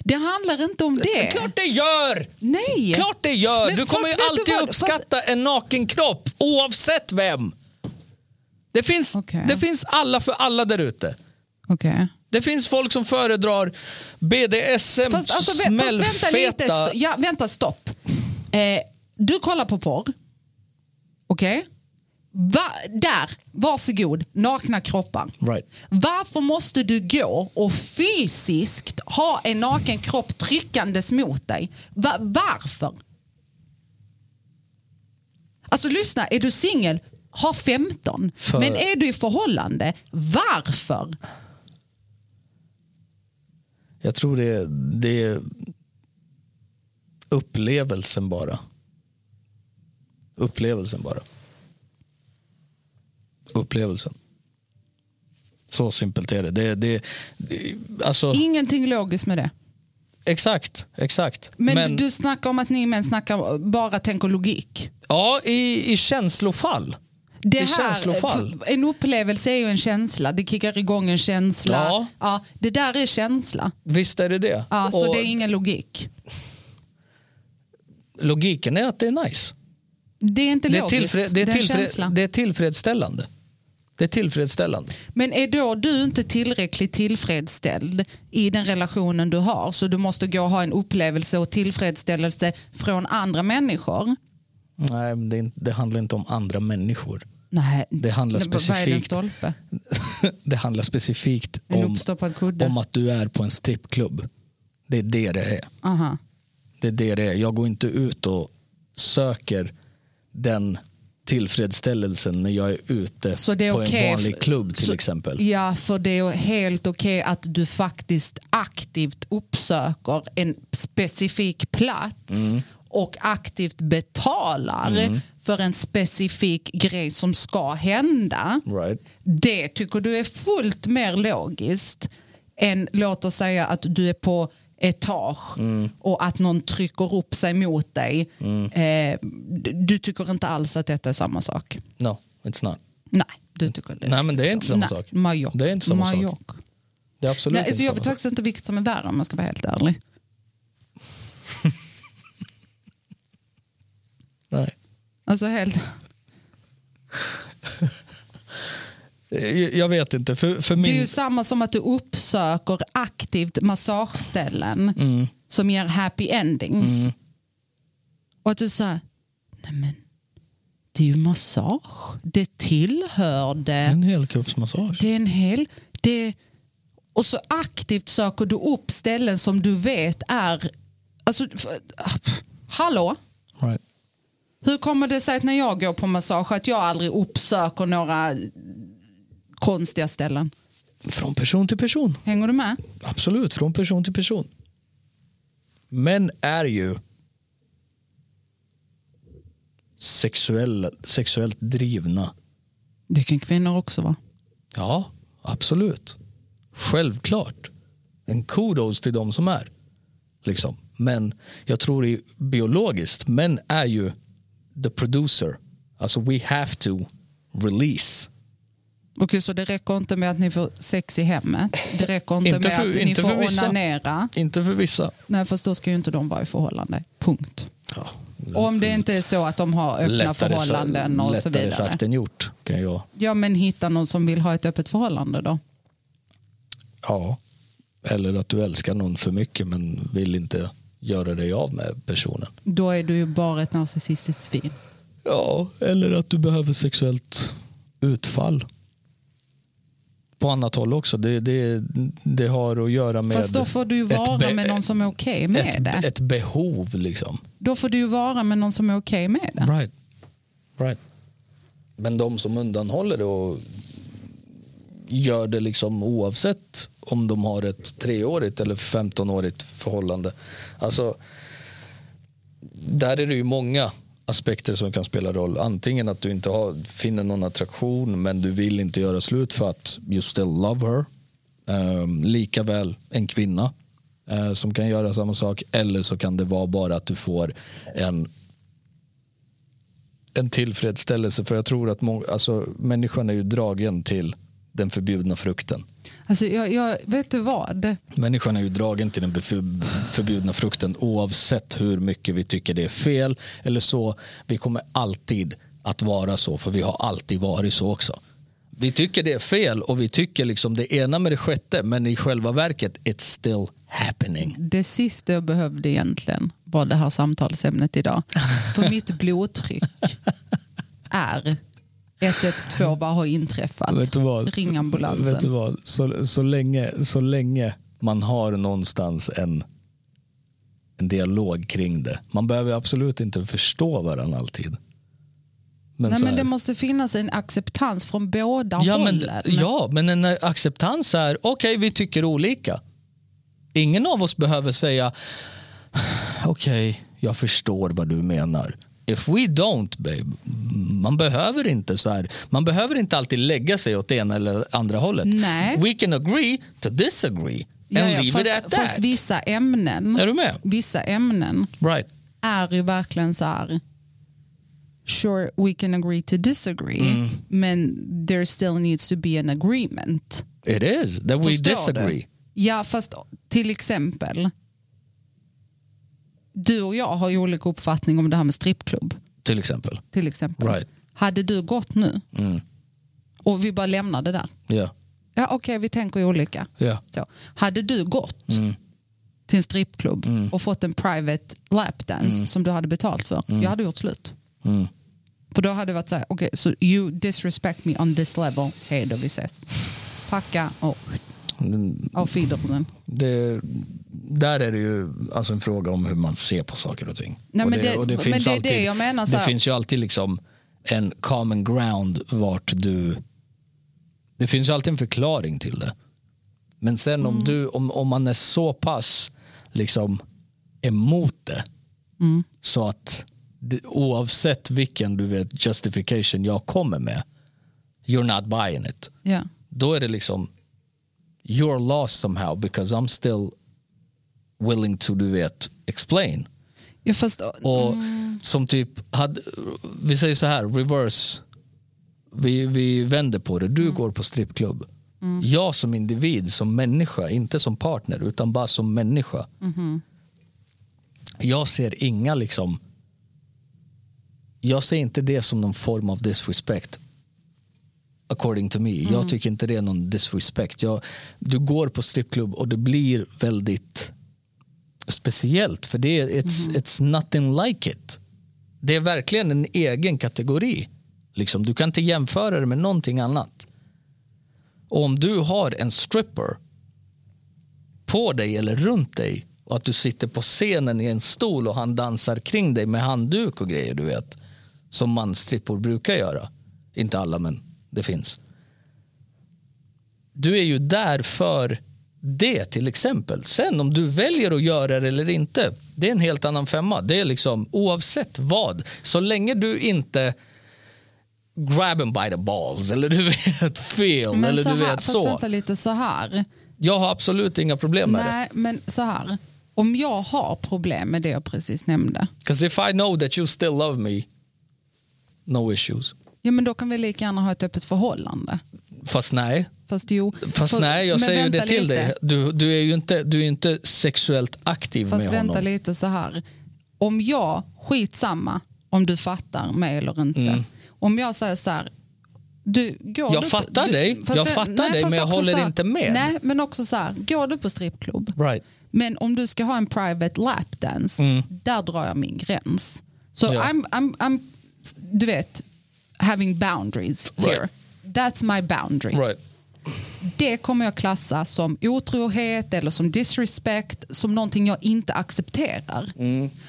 Det handlar inte om det.
Klart det gör!
Nej!
Klart det gör!
Men
du
fast
kommer ju
vet du
alltid
vad?
uppskatta en naken kropp oavsett vem. Det finns,
Okej.
det finns alla för alla där ute.
Okej.
Det finns folk som föredrar BDSM,
Fast, alltså, vä- fast vänta lite.
smällfeta.
Sto- ja, vänta, stopp. Eh, du kollar på porr. Okej? Va, där, varsågod. Nakna kroppar.
Right.
Varför måste du gå och fysiskt ha en naken kropp tryckandes mot dig? Va, varför? Alltså lyssna, är du singel, ha 15.
För-
Men är du i förhållande, varför?
Jag tror det är, det är upplevelsen bara. Upplevelsen bara. Upplevelsen. Så simpelt är det. det, det, det alltså,
Ingenting logiskt med det.
exakt, exakt.
Men, du snackar om att ni män snackar, bara tänker logik.
ja, i, i känslofall.
Det
I
här,
känslofall.
en upplevelse är ju en känsla, det kickar igång en känsla.
Ja.
det där är känsla,
Visst är det det.
ja, så
Och
det är ingen logik.
Logiken är att det är nice.
Det är inte
Det är,
logiskt,
tillfred, det, är
en
tillfred,
känsla.
det är tillfredsställande. Det är tillfredsställande.
Men är då du inte tillräckligt tillfredsställd i den relationen du har så du måste gå och ha en upplevelse och tillfredsställelse från andra människor?
Nej, men det, är inte- det handlar inte om andra människor.
Nej,
Det handlar
Men Vad är det, en
specifikt-
stolpe?
det handlar specifikt
En
om,
uppstoppad kudde?
om att du är på en strippklubb. Det är det det är.
Aha.
Det är det det är. Jag går inte ut och söker den tillfredsställelsen när jag är ute
Så det är
på
okej
en vanlig
f-
klubb till
så-
exempel.
Ja, för det är helt okej att du faktiskt aktivt uppsöker en specifik plats
Mm.
och aktivt betalar för en specifik grej som ska hända.
Right.
Det tycker du är fullt mer logiskt än låt oss säga att du är på etage
Mm.
och att någon trycker upp sig mot dig. Eh, d- du tycker inte alls att detta är samma sak?
No, it's not.
Nej, du tycker det.
Nej, men det är inte samma
Nej,
sak.
Majok.
Det är inte samma sak.
Majok.
Det är absolut
Nej, så
inte
jag
samma
vet
sak.
faktiskt inte vilket som är värre om man ska vara helt ärlig.
Nej.
Alltså helt...
Jag- Jag vet inte. För, för
Det är
min...
ju samma som att du uppsöker aktivt massageställen
Mm.
som ger happy endings. Och att du säger, nej men det är ju massage. Det tillhör det.
En helkroppsmassage.
Det är en hel... Det... Och så aktivt söker du upp ställen som du vet är... Alltså, för... hallå?
Right.
Hur kommer det sig att när jag går på massage att jag aldrig uppsöker några konstiga ställen?
Från person till person.
Hänger du med?
Absolut, från person till person. Män är ju sexuell, sexuellt drivna.
Det kan kvinnor också vara.
Ja, absolut. Självklart. En kudos till de som är. Liksom. Men jag tror i biologiskt, män är ju the producer. Alltså we have to release.
Okej, så det räcker inte med att ni får sex i hemmet? Det räcker inte,
Inte
med
för-
att ni
inte
får
för vissa.
onanera?
Inte för vissa.
Nej, fast då ska ju inte de vara i förhållande. Punkt.
Ja,
Och om det inte är så att de har öppna
sa-
förhållanden och så
lättare
vidare.
sagt än gjort kan jag
Ja, men hitta någon som vill ha ett öppet förhållande då.
Ja. Eller att du älskar någon för mycket men vill inte göra dig av med personen.
Då är du ju bara ett narcissistiskt svin.
Ja, eller att du behöver sexuellt utfall. På annat håll också. Det, det, det har att göra med
Fast då får du ju
ett
vara
be-
med någon som är okej med
ett,
det.
ett behov liksom.
Då får du ju vara med någon som är okej med det.
Right. right. Men de som undanhåller det och gör det liksom oavsett om de har ett treårigt eller 15-årigt förhållande. Alltså, där är det ju många aspekter som kan spela roll. Antingen att du inte har, finner någon attraktion men du vill inte göra slut för att you still love her. Um, lika väl en kvinna eh, som kan göra samma sak. Eller så kan det vara bara att du får en en tillfredsställelse för jag tror att må- alltså, människan är ju dragen till den förbjudna frukten.
Alltså, jag, jag, vet du vad?
Människan är ju dragen till den befö- förbjudna frukten oavsett hur mycket vi tycker det är fel eller så. Vi kommer alltid att vara så för vi har alltid varit så också. Vi tycker det är fel och vi tycker liksom det ena med det sjätte men i själva verket it's still happening.
Det sista jag behövde egentligen var det här samtalsämnet idag. För mitt blodtryck är 112, vad har inträffat?
du vad?
Ring ambulansen.
Vet du vad? Så, så, länge, så länge man har någonstans en, en dialog kring det. Man behöver absolut inte förstå varandra alltid. Men
Nej,
så
men
här-
det måste finnas en acceptans från båda
ja, men,
hållen.
ja, men en eh, acceptans är okej, vi tycker olika. Ingen av oss behöver säga okej, jag förstår vad du menar. If we don't, babe. Man behöver inte så här. Man behöver inte alltid lägga sig åt det ena eller andra hållet.
Nej.
We can agree to disagree
Ja,
and
ja,
leave it at
fast,
that.
fast vissa ämnen,
Är du med?
vissa ämnen
Right.
är ju verkligen så här sure we can agree to disagree
Mm.
men there still needs to be an agreement.
It is that we
Förstår
disagree.
Du? Ja, fast till exempel. Du och jag har ju olika uppfattning om det här med strippklubb.
Till exempel.
Till exempel.
Right. Mm.
Hade du gått nu och vi bara lämnar det där.
Yeah.
Ja, Okej, vi tänker ju olika.
Yeah.
Så. Hade du gått
Mm.
till en strippklubb och fått en private lapdance
Mm.
som du hade betalt för. Jag hade gjort slut. För då hade det varit så här, okej, så you disrespect me on this level. Hej då, vi ses. Packa och
Mm.
auf Wiedersehen.
det, där är det ju alltså en fråga om hur man ser på saker och ting.
Nej,
och
men det- men
finns
det är det jag menar, så
Det
här.
finns ju alltid liksom en common ground vart du... Det finns ju alltid en förklaring till det. Men sen
Mm.
om, du, om, om man är så pass liksom emot det
Mm.
så att det, oavsett vilken du vet justification jag kommer med you're not buying it
Ja.
då är det liksom you're lost somehow because I'm still willing to, du vet, explain.
Ja, fast,
Och som typ, hade, vi säger så här, reverse. Vi, vi vänder på det. Du går på strippklubb. Jag som individ, som människa, inte som partner, utan bara som människa. Jag ser inga liksom... Jag ser inte det som någon form av disrespect. According to me. Jag tycker inte det är någon disrespect. Jag, du går på strippklubb och det blir väldigt speciellt för det är it's, it's nothing like it. Det är verkligen en egen kategori. Liksom, du kan inte jämföra det med någonting annat. Och om du har en stripper på dig eller runt dig och att du sitter på scenen i en stol och han dansar kring dig med handduk och grejer du vet. Som mansstrippor brukar göra. Inte alla men det finns du är ju där för det till exempel. Sen om du väljer att göra det eller inte, det är en helt annan femma. Det är liksom oavsett vad, så länge du inte grab 'em by the balls eller du vet fel
men
eller
så
du
här,
vet
fast
så.
vänta lite så här.
Jag har absolut inga problem med det.
Nej, men så här. Om jag har problem med det jag precis nämnde,
'Cause if I know that you still love me, no issues.
ja, men då kan vi lika gärna ha ett öppet förhållande.
Fast nej,
Fast jo.
Fast
för-
nej, jag
men
säger ju det
vänta
till
lite.
dig. Du, du är ju inte, du är ju inte sexuellt aktiv
Fast
med
vänta
honom.
lite så här. Om jag, skitsamma om du fattar mig eller inte. Om jag säger så här. Du, går
Mm. Jag
du
fattar
du,
dig,
fast
jag
det-
fattar
nej,
dig,
fast
men jag
också
håller
så här,
inte med.
Nej, men också så här. Går du på strippklubb?
Right. Mm.
Men om du ska ha en private lapdance, där drar jag min gräns. Så
Ja.
I'm, I'm, I'm, du vet, having boundaries here.
Right.
That's my boundary.
Right.
Det kommer jag klassa som otrohet eller som disrespect, som någonting jag inte accepterar.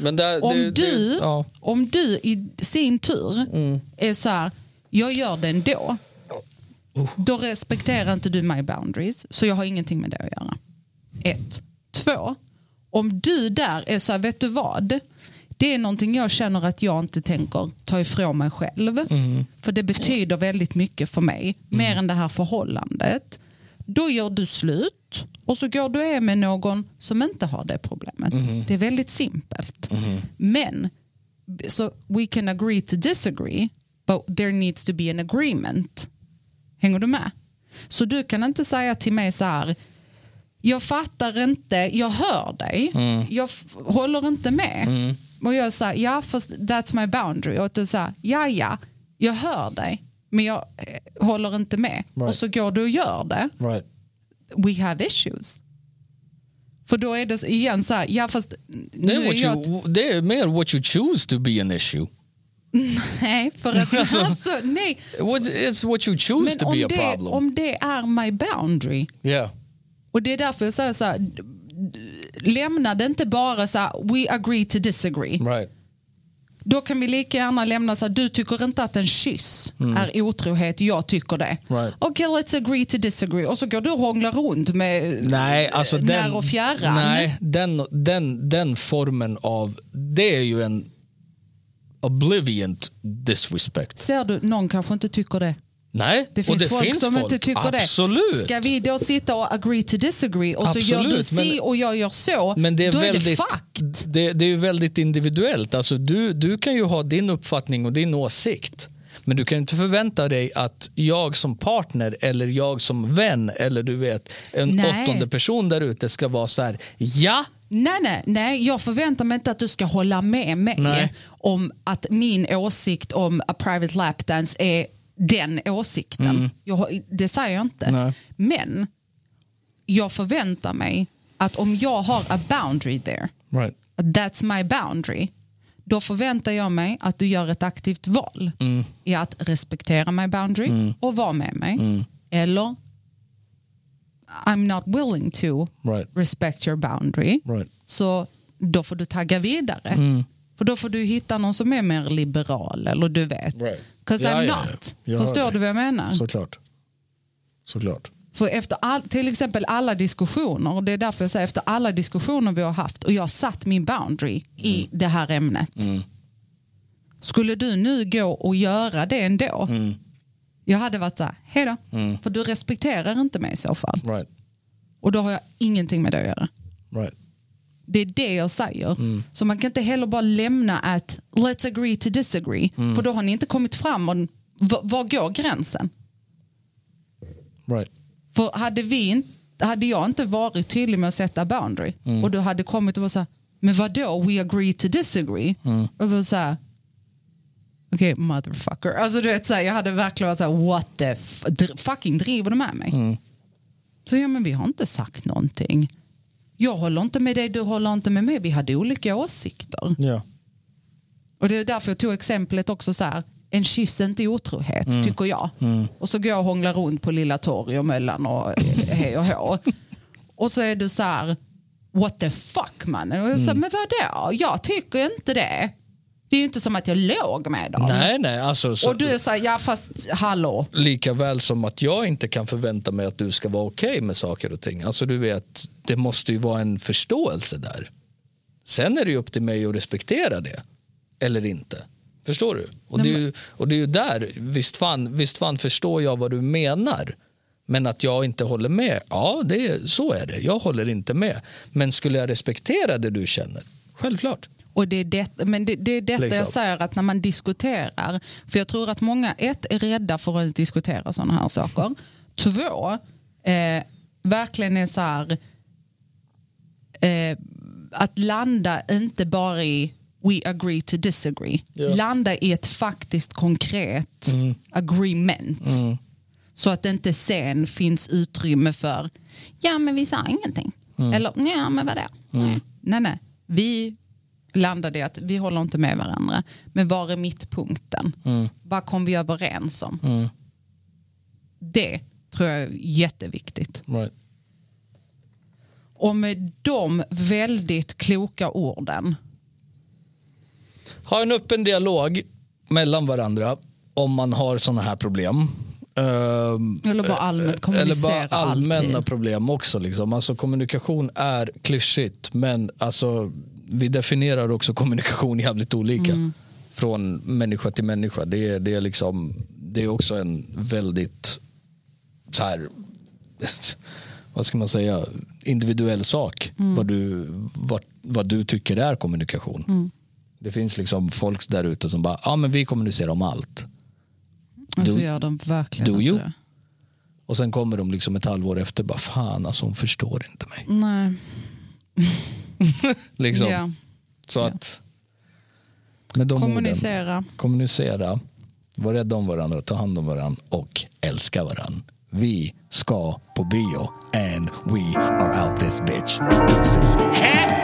Men där,
Om,
Mm. det,
du,
Det, ja. Mm.
om du i sin tur är så här, jag gör det ändå, då respekterar inte du my boundaries, så jag har ingenting med det att göra. Ett. Två, om du där är så här, vet du vad? Det är någonting jag känner att jag inte tänker ta ifrån mig själv. För det betyder väldigt mycket för mig, mer än det här förhållandet. Då gör du slut och så går du är med någon som inte har det problemet. Det är väldigt simpelt. Men, så we can agree to disagree, but there needs to be an agreement. Hänger du med? Så du kan inte säga till mig så här, jag fattar inte, jag hör dig,
Mm.
jag f- håller inte med. Och jag säger, ja fast that's my boundary. Och du säger, ja ja, jag hör dig, men jag eh, håller inte med. Och så går du och gör det,
Right.
we have issues. För då är det igen så här, ja fast
Det
nu
är,
är
what
jag ett-
you, det är mer what you choose to be an issue.
Nej, för att alltså, nej.
What, it's what you choose
Men
to
om
be a
det,
problem.
om det är my boundary,
yeah.
och det är därför jag säger så här, d- d- lämna det inte bara så här, we agree to disagree.
Right.
Då kan vi lika gärna lämna så här, du tycker inte att en kyss är otrohet, jag tycker det.
Mm. Right.
Okej, let's agree to disagree. Och så går du och hånglar runt med
Nej, alltså
eh,
den,
när och fjärran.
Nej, den, den, den formen av... Det är ju en obliviant disrespect.
Ser du, någon kanske inte tycker det.
Nej,
Det finns
och det
folk
finns
som
folk.
inte tycker
Absolut.
det. Ska vi då sitta och agree to disagree och så gör du
Absolut, men-
si och jag gör så,
Men det är,
då är det
väldigt,
fuck.
det, det är ju väldigt individuellt. Alltså du, du kan ju ha din uppfattning och din åsikt. Men du kan ju inte förvänta dig att jag som partner eller jag som vän eller du vet en
Nej.
åttonde person där ute ska vara så här. Ja,
Nej, nej, nej, jag förväntar mig inte att du ska hålla med mig
Nej.
om att min åsikt om a private lapdance är den åsikten. Jag, har- det säger jag inte.
Mm. Nej.
Men jag förväntar mig att om jag har a boundary there,
right.
that's my boundary, då förväntar jag mig att du gör ett aktivt val
Mm.
i att respektera my boundary och vara med mig.
Mm.
Eller I'm not willing to
Right.
respect your boundary.
Right. Mm.
Så då får du tagga vidare. För då får du hitta någon som är mer liberal eller du vet.
Right.
Cause
Ja,
I'm
ja, ja.
not.
Jag hör
Förstår
dig.
du vad jag menar?
såklart. Såklart.
För efter all, till exempel alla diskussioner, och det är därför jag säger efter alla diskussioner vi har haft och jag har satt min boundary i
Mm.
det här ämnet. Skulle du nu gå och göra det ändå?
Mm.
Jag hade varit så här, hej då. För du respekterar inte mig i så fall.
Right.
Och då har jag ingenting med det att göra.
Right.
Det är det jag säger. Så man kan inte heller bara lämna att let's agree to disagree. För då har ni inte kommit fram. Och, var, var går gränsen?
Right.
För hade, vi in, hade jag inte varit tydlig med att sätta boundary och du hade kommit och var så här, men vadå, we agree to disagree? Och var så här, okej motherfucker. Alltså du vet så här, jag hade verkligen varit så här, what the f- dr- fucking driver du med mig? Så ja men vi har inte sagt någonting. Jag håller inte med dig, du håller inte med mig. Vi hade olika åsikter.
Ja.
Och det är därför jag tog exemplet också så här. En kyss är inte otrohet,
Mm.
tycker jag. Och så går jag och hånglar runt på Lilla Torg och Möllan och eh, hej och hå. Och så är du så här, what the fuck man. Och jag säger,
Mm.
men vadå? Jag tycker inte det. Det är ju inte som att jag låg med dem.
Nej, nej. Alltså, så,
Och du är så här, ja fast hallå.
Lika väl som att jag inte kan förvänta mig att du ska vara okej med saker och ting. Alltså, du vet, det måste ju vara en förståelse där. Sen är det ju upp till mig att respektera det, eller inte. Förstår du? Och, det, är ju, och det är ju där, visst fan, visst fan förstår jag vad du menar. Men att jag inte håller med, ja, det är, så är det. Jag håller inte med. Men skulle jag respektera det du känner? Självklart.
Och det är, det, men det, det är detta
Liksom.
jag säger att när man diskuterar, för jag tror att många ett är rädda för att ens diskutera sådana här saker. Två, eh, verkligen är så här, eh, att landa inte bara i we agree to disagree. Landa i ett faktiskt konkret agreement. Så att det inte sen finns utrymme för, ja men vi sa ingenting. Eller, ja men vadå? Mm. Nej, nej. Vi landade i att vi håller inte med varandra. Men var är mittpunkten? Vad kom vi överens om? Det tror jag är jätteviktigt.
Right.
Och med de väldigt kloka orden.
Ha en öppen dialog mellan varandra om man har sådana här problem. Ehm,
Eller bara allmänt
Eller
kommunicera
bara allmänna
alltid.
problem också. Liksom. Alltså, kommunikation är klyschigt men alltså, vi definierar också kommunikation jävligt olika.
Mm.
Från människa till människa. Det är, det är, liksom, det är också en väldigt så här, vad ska man säga, individuell sak.
Mm.
Vad, du, vad, vad du tycker är kommunikation.
Mm.
Det finns liksom folk där ute som bara, ja men vi kommunicerar om allt.
Och så
Do-
gör de verkligen
do
inte
you?
det.
Och sen kommer de liksom ett halvår efter, bara fan alltså hon förstår inte mig.
Nej.
Liksom.
Ja.
Så att, med de orden,
Kommunicera.
kommunicera, var rädda om varandra, ta hand om varandra och älska varandra. Vi ska på bio and we are out this bitch. Deuces. Hä?